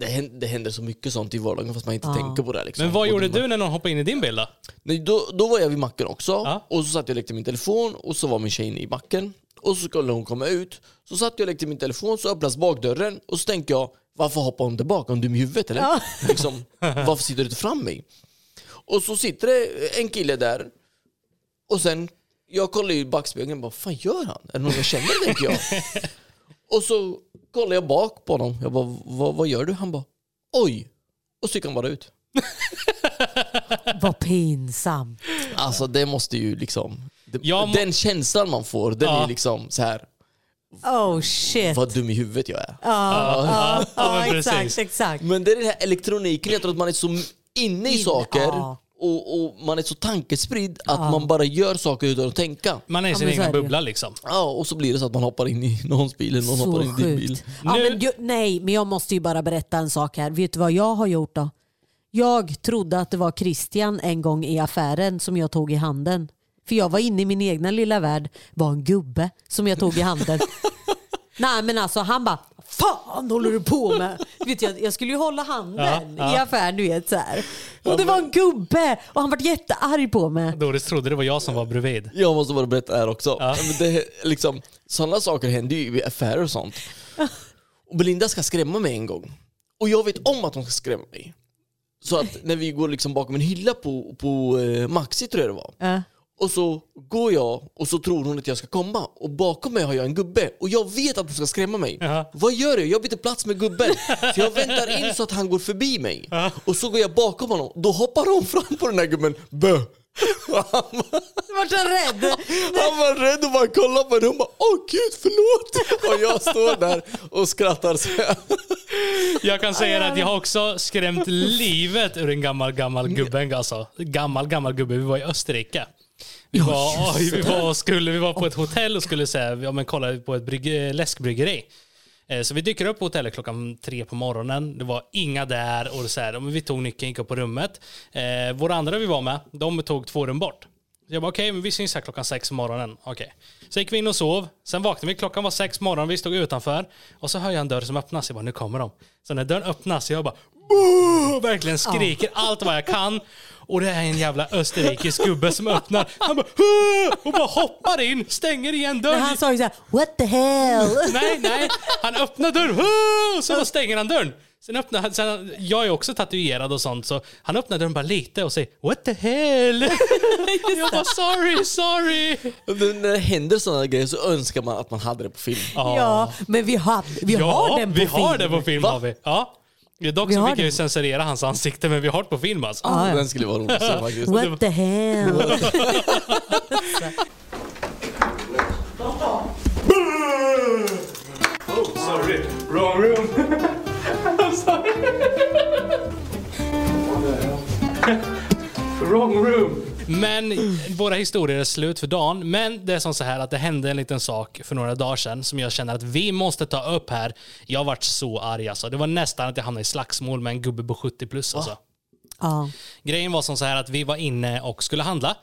Speaker 3: det, händer, det händer så mycket sånt i vardagen fast man inte tänker på det. här, Liksom.
Speaker 1: Men vad
Speaker 3: Och
Speaker 1: gjorde
Speaker 3: det-
Speaker 1: du när någon hoppade in i din bil då?
Speaker 3: Nej, då, då var jag vid macken också
Speaker 1: Ja.
Speaker 3: och så satt jag och lekte min telefon och så var min tjej inne i macken och så skulle hon komma ut. Så satt jag och lekte min telefon så öppnas bakdörren och så tänkte jag varför hoppar hon tillbaka? Är hon dum i huvudet eller? Liksom, varför sitter du inte fram mig? Och så sitter det en kille där och sen jag kollar i backspegeln och bara vad fan gör han? Är det någon jag känner tänker jag. Och så kollar jag bak på honom. Jag bara vad, vad gör du? Han bara oj. Och så gick han bara ut.
Speaker 2: Vad pinsamt.
Speaker 3: Alltså det måste ju liksom... Det,
Speaker 1: Jag må-
Speaker 3: Den känslan man får, den
Speaker 1: Ja.
Speaker 3: är liksom så här.
Speaker 2: Oh shit.
Speaker 3: vad dum i huvudet jag är.
Speaker 1: Ja,
Speaker 2: Ja
Speaker 1: men
Speaker 2: exakt,
Speaker 1: precis.
Speaker 2: exakt.
Speaker 3: Men det är den här elektroniken, jag tror att man är så inne i
Speaker 2: Inne,
Speaker 3: saker
Speaker 2: ja.
Speaker 3: och, och man är så tankespridd att man bara gör saker utan att tänka.
Speaker 1: Man är i sin
Speaker 2: men så
Speaker 1: egen
Speaker 2: är det ju.
Speaker 1: bubbla liksom.
Speaker 3: Ja, och så blir det så att man hoppar in i någons bil eller någon hoppar in i din bil.
Speaker 2: Ja,
Speaker 1: Nu-
Speaker 2: men, ju- nej, men jag måste ju bara berätta en sak här. Vet du vad jag har gjort då? Jag trodde att det var Christian en gång i affären som jag tog i handen. För jag var inne i min egna lilla värld, var en gubbe som jag tog i handen. Nej men alltså han bara, fan håller du på med? Vet jag, jag skulle ju hålla handen
Speaker 1: Ja, ja.
Speaker 2: i affären du vet så här. Och det var en gubbe och han vart jättearg på mig.
Speaker 1: Doris trodde det var jag som var bredvid.
Speaker 3: Jag måste bara berätta det här också. Men det, är liksom, sådana saker händer ju i affärer och sånt. Och Belinda ska skrämma mig en gång. Och jag vet om att hon ska skrämma mig. Så att när vi går liksom bakom en hylla på, på eh, Maxi tror jag det var.
Speaker 2: Ja.
Speaker 3: Och så går jag och så tror hon att jag ska komma och bakom mig har jag en gubbe och jag vet att hon ska skrämma mig.
Speaker 1: Ja.
Speaker 3: Vad gör jag? Jag byter plats med gubben. Så jag väntar in så att han går förbi mig. Och så går jag bakom honom. Då hoppar hon fram på den här gubben. Bö! Han var-
Speaker 2: Vart så rädd?
Speaker 3: han var rädd och bara kollade på henne och bara åh gud förlåt. Och jag står där och skrattar. Så här.
Speaker 1: Jag kan säga att jag har också skrämt livet ur en gammal, gammal gubbe. Alltså. Gammal, gammal gubbe. Vi var i Österrike. Vi var, oj, vi var, och skulle, vi var på ett hotell och skulle säga, ja, men kolla på ett brygge, läskbryggeri. Eh, Så vi dyker upp på hotellet klockan tre på morgonen. Det var inga där. Och så här, ja, men vi tog nyckeln gick upp på rummet. Eh, våra andra vi var med, de tog två rum bort. Så jag bara okej, men vi syns här klockan sex på morgonen. Okej. Så gick vi in och sov. Sen vaknade vi, klockan var sex på morgonen, vi stod utanför. Och så hör jag en dörr som öppnas. Jag bara nu kommer de. Så när dörren öppnas, jag bara "Boo!" verkligen skriker allt vad jag kan. Och det är en jävla österrikisk gubbe som öppnar. Han bara "Hö!" och bara hoppar in, stänger igen
Speaker 2: Men
Speaker 1: dörren.
Speaker 2: han sa ju såhär, what the hell?
Speaker 1: Nej, nej. Han öppnar dörren "Hö!" och så bara stänger han dörren. Sen öppnar han, sen, jag är också tatuerad och sånt, så han öppnar dörren bara lite och säger What the hell? jag bara sorry, sorry.
Speaker 3: Men När det händer sådana grejer så önskar man att man hade det på film.
Speaker 2: Ja, men vi, hade, vi har den på
Speaker 1: vi
Speaker 2: film.
Speaker 1: har den på film.
Speaker 3: Va?
Speaker 1: Har vi. Ja. Det är Dock
Speaker 2: Vi
Speaker 1: så
Speaker 2: har
Speaker 1: fick jag ju
Speaker 2: den. Ah.
Speaker 1: censurera hans ansikte, men vi har det på film alltså.
Speaker 2: Ja, ja.
Speaker 3: Den skulle vara rolig att se faktiskt.
Speaker 2: What the hell?
Speaker 1: Men våra historier är slut för dagen. Men det är som så här att det hände en liten sak för några dagar sedan som jag känner att vi måste ta upp här. Jag har varit så arg alltså. Det var nästan att jag hamnade i slagsmål med en gubbe på 70 plus alltså.
Speaker 2: Ja.
Speaker 1: Grejen var som så här att vi var inne och skulle handla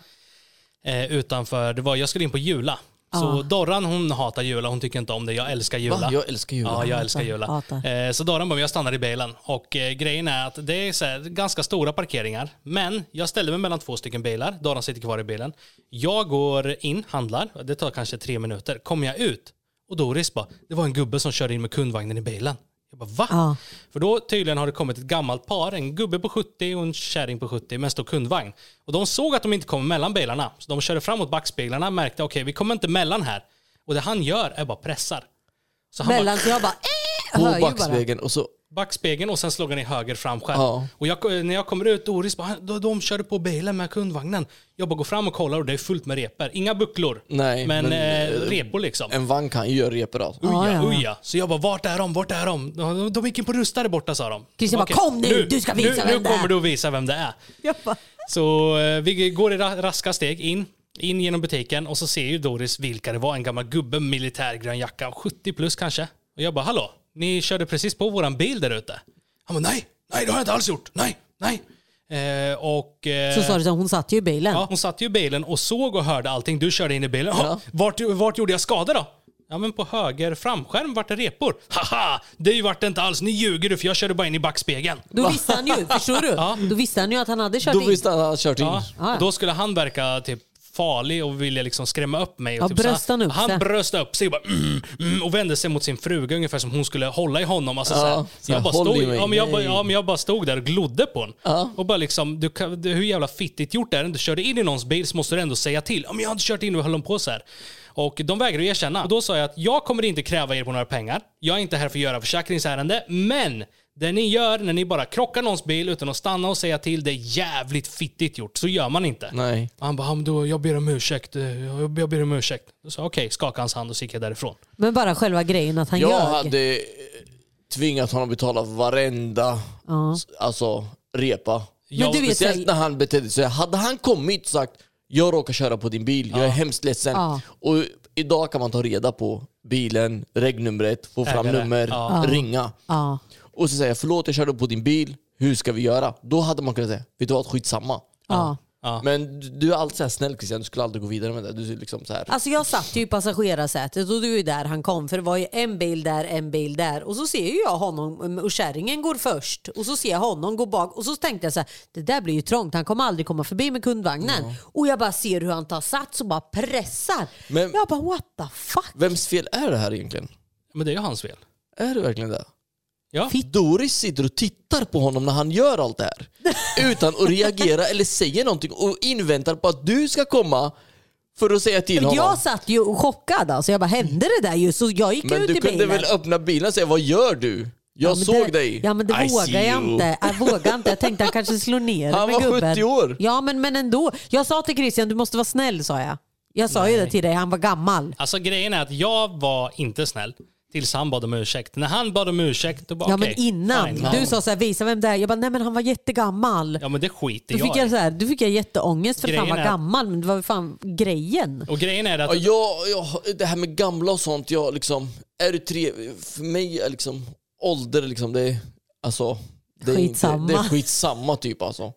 Speaker 1: eh, utanför, det var, jag skulle in på Jula. Så Dorran hon hatar Jula, hon tycker inte om det. Jag älskar Jula.
Speaker 3: Va? Jag älskar Jula.
Speaker 1: Ja, jag älskar Jula.
Speaker 2: Hatar.
Speaker 1: Eh, så Dorran bara, jag stannar i bilen. Och eh, grejen är att det är så här, ganska stora parkeringar. Men jag ställde mig mellan två stycken bilar. Dorran sitter kvar i bilen. Jag går in, handlar. Det tar kanske tre minuter. Kommer jag ut och Doris bara, det var en gubbe som körde in med kundvagnen i bilen. Jag bara, va?
Speaker 2: Ja.
Speaker 1: För då tydligen har det kommit ett gammalt par, en gubbe på 70 och en kärring på 70 med en stor kundvagn. Och de såg att de inte kom mellan bilarna. Så de körde framåt backspeglarna märkte, okej vi kommer inte mellan här. Och det han gör är bara pressar. Så han bara,
Speaker 2: Mellan så jag bara, eh, hör
Speaker 3: På
Speaker 2: ju bara.
Speaker 3: backspegeln och så
Speaker 1: backspegeln och sen slog han i höger framskärm.
Speaker 3: Ja.
Speaker 1: Och jag, eh, när jag kommer ut, Doris bara, de, de körde på bilen med kundvagnen. Jag bara går fram och kollar och det är fullt med repor. Inga bucklor,
Speaker 3: Nej,
Speaker 1: men,
Speaker 3: men,
Speaker 1: eh,
Speaker 3: eh,
Speaker 1: repor liksom.
Speaker 3: en vagn kan ju göra repor allt.
Speaker 1: Uja,
Speaker 2: Ja, ja, ja.
Speaker 1: uja. Så jag bara, vart är de? Vart är de? De, de gick in på rusta där borta sa de.
Speaker 2: Christian bara,
Speaker 1: Okej,
Speaker 2: "Kom nu, du ska visa
Speaker 1: nu,
Speaker 2: vem
Speaker 1: Nu
Speaker 2: det är."
Speaker 1: kommer du att visa vem det är.
Speaker 2: Jag bara,
Speaker 1: Så eh, vi går i ra- raska steg in, in genom butiken och så ser ju Doris vilka det var. En gammal gubbe, militärgrön jacka, 70 plus kanske. Och jag bara, hallå, ni körde precis på våran bil där ute. Han bara, nej, nej det har jag inte alls gjort. Nej, nej. Eh, och, eh,
Speaker 2: så sa du så, hon satt ju i bilen.
Speaker 1: Ja, hon satt ju i bilen och såg och hörde allting. Du körde in i bilen. Ja. Vart, vart gjorde jag skada då? Ja men på höger framskärm vart det repor. Haha! Det vart det inte alls. Ni ljuger du för jag körde bara in i backspegeln.
Speaker 2: Då visste han ju, förstår du? Då visste han ju att han hade kört
Speaker 3: Då
Speaker 2: in.
Speaker 3: visste han att han kört in.
Speaker 1: Ja.
Speaker 2: Ja, ja.
Speaker 1: Och då skulle han verka typ farlig och ville liksom skrämma upp mig. Och
Speaker 2: Ja,
Speaker 1: typ så här-
Speaker 2: bröst han upp sig?
Speaker 1: Han bröst upp sig och, bara, mm, mm, och vände sig mot sin fruga ungefär som hon skulle hålla i honom. Alltså, så här.
Speaker 3: så
Speaker 1: jag,
Speaker 3: här,
Speaker 1: bara
Speaker 3: håll i
Speaker 1: stod,
Speaker 3: mig.
Speaker 1: ja, men jag, bara,
Speaker 3: Nej.
Speaker 1: ja, men jag bara stod där och glodde på honom. Och bara liksom, du, kan- du, hur jävla fittigt gjort det är. Du körde in i någons bil så måste du ändå säga till. Ja, men jag hade kört in och höll dem på så här. Och de vägrade erkänna. Och då sa jag att jag kommer inte kräva er på några pengar. Jag är inte här för att göra försäkringsärende. Men det ni gör när ni bara krockar någons bil utan att stanna och säga till, det är jävligt fittigt gjort. Så gör man inte.
Speaker 3: Nej.
Speaker 1: Och Han bara, "Ja, men då, jag ber om ursäkt. eh, Jag jag ber om ursäkt. Då sa jag okej, skakade hans hand och så gick jag därifrån.
Speaker 2: Men bara själva grejen att han
Speaker 3: Jag
Speaker 2: ljög.
Speaker 3: hade eh, tvingat honom att betala varenda s- alltså, repa.
Speaker 2: Men du vet, så
Speaker 3: Speciellt när han betedde sig. Hade han kommit och sagt jag råkar köra på din bil, jag är hemskt ledsen.
Speaker 2: Ja.
Speaker 3: Och idag kan man ta reda på bilen, regnumret, få fram
Speaker 1: Ägare.
Speaker 3: nummer,
Speaker 1: Ja.
Speaker 3: ringa.
Speaker 2: ja.
Speaker 3: Och så säga förlåt jag körde på din bil, hur ska vi göra? Då hade man kunnat säga, vet du vad skitsamma.
Speaker 2: Ja.
Speaker 1: Ja.
Speaker 3: Men du- du är alltid så här snäll Christian, du skulle aldrig gå vidare med det. Du är liksom så här.
Speaker 2: Alltså jag satt ju i passagerarsätet och det var ju där han kom för det var ju en bil där, en bil där och så ser ju jag honom och kärringen går först och så ser jag honom gå bak och så tänkte jag så här, det där blir ju trångt, han kommer aldrig komma förbi med kundvagnen. Och jag bara ser hur han tar sats och bara pressar.
Speaker 3: Men-
Speaker 2: jag bara what the fuck?
Speaker 3: Vems fel är det här egentligen?
Speaker 1: Men det är ju hans fel.
Speaker 3: Är det verkligen det?
Speaker 1: Ja.
Speaker 3: Doris sitter och tittar på honom när han gör allt det här. Utan att reagera eller säga någonting och inväntar på att du ska komma För att säga till honom.
Speaker 2: Jag satt ju chockad alltså. Jag bara, hände det där just? Så jag gick
Speaker 3: Men
Speaker 2: ut
Speaker 3: du
Speaker 2: i
Speaker 3: kunde
Speaker 2: bilen.
Speaker 3: väl öppna bilen och säga vad gör du? Jag
Speaker 2: Ja, men
Speaker 3: såg
Speaker 2: det,
Speaker 3: dig.
Speaker 2: Ja men det
Speaker 3: I see
Speaker 2: vågar jag
Speaker 3: you."
Speaker 2: inte. Jag vågar inte. Jag tänkte han kanske slår ner
Speaker 3: Han
Speaker 2: mig,
Speaker 3: var
Speaker 2: gubben.
Speaker 3: 70 år.
Speaker 2: Ja men, men ändå. Jag sa till Christian, du måste vara snäll sa jag. Jag sa ju det till dig, han var gammal.
Speaker 1: Alltså grejen är att jag var inte snäll tills han bad om ursäkt. När han bad om ursäkt, då bara
Speaker 2: Ja
Speaker 1: okej,
Speaker 2: men innan.
Speaker 1: fine.
Speaker 2: Du sa så här, visa vem det är. Jag bara, nej men han var jättegammal.
Speaker 1: Ja men det skiter
Speaker 2: Då fick
Speaker 1: jag,
Speaker 2: jag,
Speaker 1: i.
Speaker 2: så här, då fick jag jätteångest för att han
Speaker 1: Grejen
Speaker 2: var
Speaker 1: är-
Speaker 2: gammal. Men det var ju fan grejen.
Speaker 1: Och grejen är att
Speaker 3: Ja, jag, jag, det här med gamla och sånt, jag liksom, är du tre, för mig är liksom ålder liksom, det är, alltså, det är,
Speaker 2: Skitsamma.
Speaker 3: Inte, det är skitsamma typ alltså.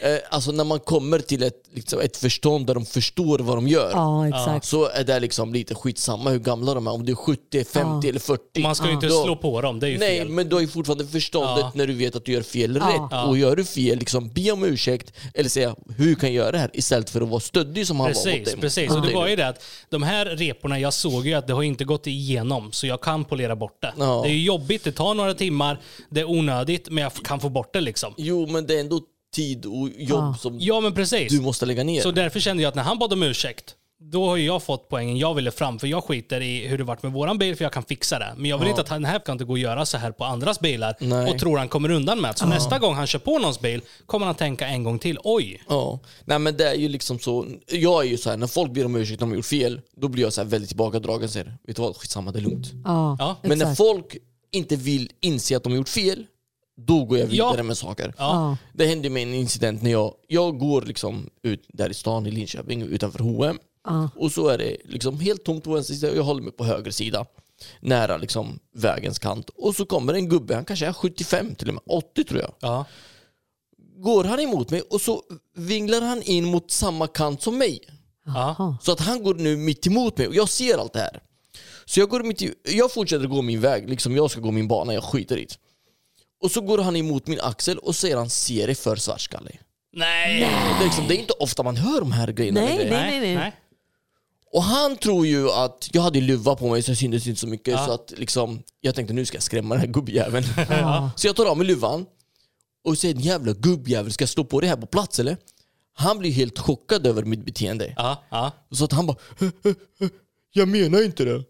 Speaker 3: Eh, alltså när man kommer till ett, liksom, ett förstånd där de förstår vad de gör.
Speaker 2: Ja exakt.
Speaker 3: Så är det liksom lite skitsamma hur gamla de är, om du är 70, 50 eller 40.
Speaker 1: man ska ju inte
Speaker 3: Ah, Då-
Speaker 1: slå på dem, det är ju
Speaker 3: Nej,
Speaker 1: fel.
Speaker 3: men du har ju fortfarande förståndet
Speaker 1: Ja.
Speaker 3: när du vet att du gör fel
Speaker 2: Ja.
Speaker 3: rätt. Och gör du fel, liksom, be om ursäkt eller säga hur kan jag göra det här? Istället för att vara stöddig som han var mot
Speaker 1: Precis,
Speaker 3: dig.
Speaker 1: precis. Och det var ju det att de här reporna, jag såg ju att det har inte gått igenom så jag kan polera bort det.
Speaker 3: Ja.
Speaker 1: Det är ju jobbigt, det tar några timmar, det är onödigt men jag f- kan få bort det liksom.
Speaker 3: Jo, men det är ändå tid och jobb som
Speaker 1: Ja men precis.
Speaker 3: du måste lägga ner.
Speaker 1: Så därför kände jag att när han bad om ursäkt, då har ju jag fått poängen jag ville fram. För jag skiter i hur det varit med våran bil, för jag kan fixa det. Men jag vill inte att han här kan inte gå och göra så här på andras bilar
Speaker 3: Nej.
Speaker 1: och tror han kommer undan med det. Så nästa gång han kör på någons bil kommer han tänka en gång till, oj.
Speaker 3: Ja. Nej, men det är ju liksom så. Jag är ju så här, när folk ber om ursäkt när de har gjort fel, då blir jag så här väldigt tillbakadragen och säger vet du vad, skitsamma, det är lugnt.
Speaker 2: Ja.
Speaker 1: Ja.
Speaker 3: Men när
Speaker 2: Exakt.
Speaker 3: folk inte vill inse att de har gjort fel, då går jag vidare
Speaker 1: Ja.
Speaker 3: med saker.
Speaker 2: Ja.
Speaker 3: Det hände mig en incident när jag, jag går liksom ut där i stan i Linköping utanför H&M Och så är det liksom helt tomt på vänster sida och jag håller mig på höger sida. Nära liksom vägens kant. Och så kommer en gubbe, han kanske är 75 till och med, 80 tror jag.
Speaker 1: Ja.
Speaker 3: Går han emot mig och så vinglar han in mot samma kant som mig.
Speaker 1: Ja.
Speaker 3: Så att han går nu mitt emot mig och jag ser allt det här. Så jag, går mitt i, jag fortsätter gå min väg, liksom jag ska gå min bana, jag skiter i det. Och så går han emot min axel och säger han ser dig för svartskalle.
Speaker 1: Nej.
Speaker 3: Det är, liksom, det är inte ofta man hör de här grejerna.
Speaker 2: Nej,
Speaker 3: längre.
Speaker 2: nej.
Speaker 3: Och han tror ju att, jag hade ju luva på mig så det syntes inte så mycket så att liksom, jag tänkte nu ska jag skrämma den här gubbjäveln. Så jag tar av mig luvan och säger den jävla gubbjävel, ska jag slå på det här på plats eller? Han blir helt chockad över mitt beteende.
Speaker 1: Ja, ja.
Speaker 3: Så att han bara, jag menar inte det.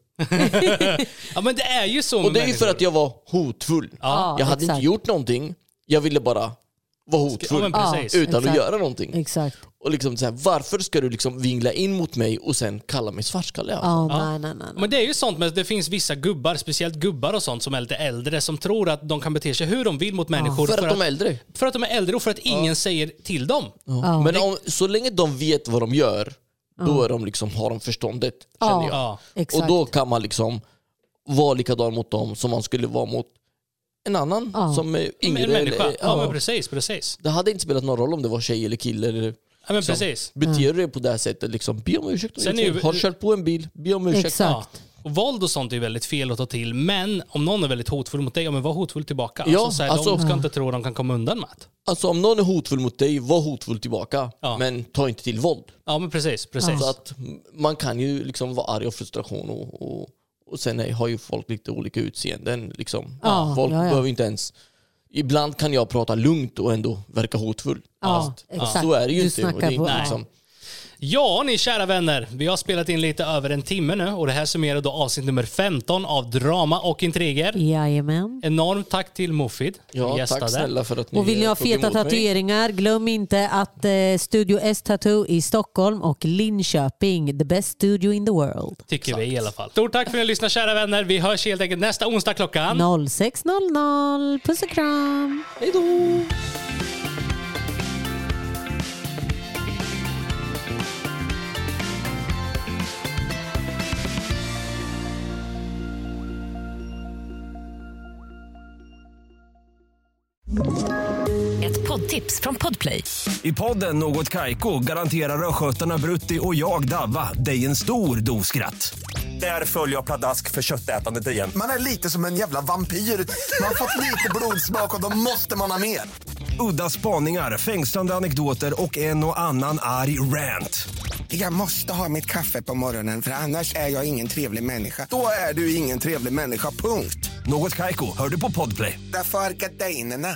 Speaker 1: ja, men det är ju så
Speaker 3: Och
Speaker 1: med
Speaker 3: det är ju för
Speaker 1: människor.
Speaker 3: att jag var hotfull.
Speaker 2: Ja,
Speaker 3: jag hade
Speaker 2: exakt.
Speaker 3: inte gjort någonting, jag ville bara vara
Speaker 1: Ja,
Speaker 3: hotfull.
Speaker 1: men precis.
Speaker 2: Ja.
Speaker 3: utan att
Speaker 2: exakt.
Speaker 3: göra någonting.
Speaker 2: Exakt.
Speaker 3: Och liksom så här, varför ska du liksom vingla in mot mig och sen kalla mig svartskalle? alltså?
Speaker 2: Ja, nej, nej, nej. nej.
Speaker 1: Men det är ju sånt med att det finns vissa gubbar, speciellt gubbar och sånt som är lite äldre, som tror att de kan bete sig hur de vill mot människor.
Speaker 3: För att de är äldre.
Speaker 1: för att de är äldre och för att ingen säger till dem.
Speaker 2: Ja.
Speaker 3: Men om, så länge de vet vad de gör, då är de liksom, har de förståndet.
Speaker 2: Ja.
Speaker 3: Känner jag.
Speaker 1: Ja.
Speaker 2: Exakt.
Speaker 3: Och då kan man liksom vara likadan mot dem som man skulle vara mot en annan
Speaker 2: Ja.
Speaker 3: som är yngre.
Speaker 1: en människa.
Speaker 3: eller-
Speaker 1: ja,
Speaker 3: ja.
Speaker 1: men precis. precis.
Speaker 3: Det hade inte spelat någon roll om det var tjej eller kille. Eller,
Speaker 1: Ja, men
Speaker 3: liksom.
Speaker 1: precis.
Speaker 3: Beter du dig på det här sättet, liksom, be om ursäkt. om
Speaker 1: Sen
Speaker 3: du
Speaker 1: är ju-
Speaker 3: Har du kört på en bil, be om ursäkt.
Speaker 2: Exakt.
Speaker 1: Ja. Och våld och sånt är ju väldigt fel att ta till, men om någon är väldigt hotfull mot dig, ja, men var hotfull tillbaka.
Speaker 3: Ja,
Speaker 1: alltså, så här,
Speaker 3: alltså-
Speaker 1: de ska inte tro att de kan komma undan med det.
Speaker 3: Alltså om någon är hotfull mot dig, var hotfull tillbaka.
Speaker 1: Ja.
Speaker 3: Men ta inte till våld.
Speaker 1: Ja, men precis. precis.
Speaker 3: Så att man kan ju liksom vara arg av frustration och, och, och sen är, har ju folk lite olika utseenden. Liksom.
Speaker 2: Ja,
Speaker 3: folk
Speaker 2: ja, ja.
Speaker 3: behöver inte ens... Ibland kan jag prata lugnt och ändå verka hotfull.
Speaker 2: Ja, exakt.
Speaker 3: så är det ju
Speaker 2: Du
Speaker 3: inte. Och
Speaker 2: snackar
Speaker 3: det är
Speaker 2: på-
Speaker 3: inte liksom,
Speaker 1: Ja, ni kära vänner. Vi har spelat in lite över en timme nu och det här summerar då avsnitt nummer 15 av Drama och intriger.
Speaker 2: Jajamän.
Speaker 1: Enormt tack till Mofid. som
Speaker 3: ja,
Speaker 1: gästade.
Speaker 3: tack snälla för att ni
Speaker 2: Och vill ni
Speaker 3: eh,
Speaker 2: ha
Speaker 3: tog
Speaker 2: feta
Speaker 3: emot mig.
Speaker 2: tatueringar, glöm inte att eh, Studio S Tattoo i Stockholm och Linköping, the best studio in the world.
Speaker 1: Tycker vi i alla fall. Stort tack för att ni lyssnar kära vänner. Vi hörs helt enkelt nästa onsdag klockan
Speaker 2: 06.00, puss och kram.
Speaker 6: Ett poddtips från Podplay.
Speaker 7: I podden Något Kaiko garanterar östgötarna Brutti och jag, Davva, dig en stor dos skratt. Där följer jag pladask för köttätandet igen.
Speaker 8: Man är lite som en jävla vampyr. Man har fått lite blodsmak och då måste man ha mer.
Speaker 7: Udda spaningar, fängslande anekdoter och en och annan arg rant.
Speaker 8: Jag måste ha mitt kaffe på morgonen för annars är jag ingen trevlig människa. Då är du ingen trevlig människa, punkt.
Speaker 7: Något Kaiko, hör du på Podplay.
Speaker 8: Därför arkadeinerna.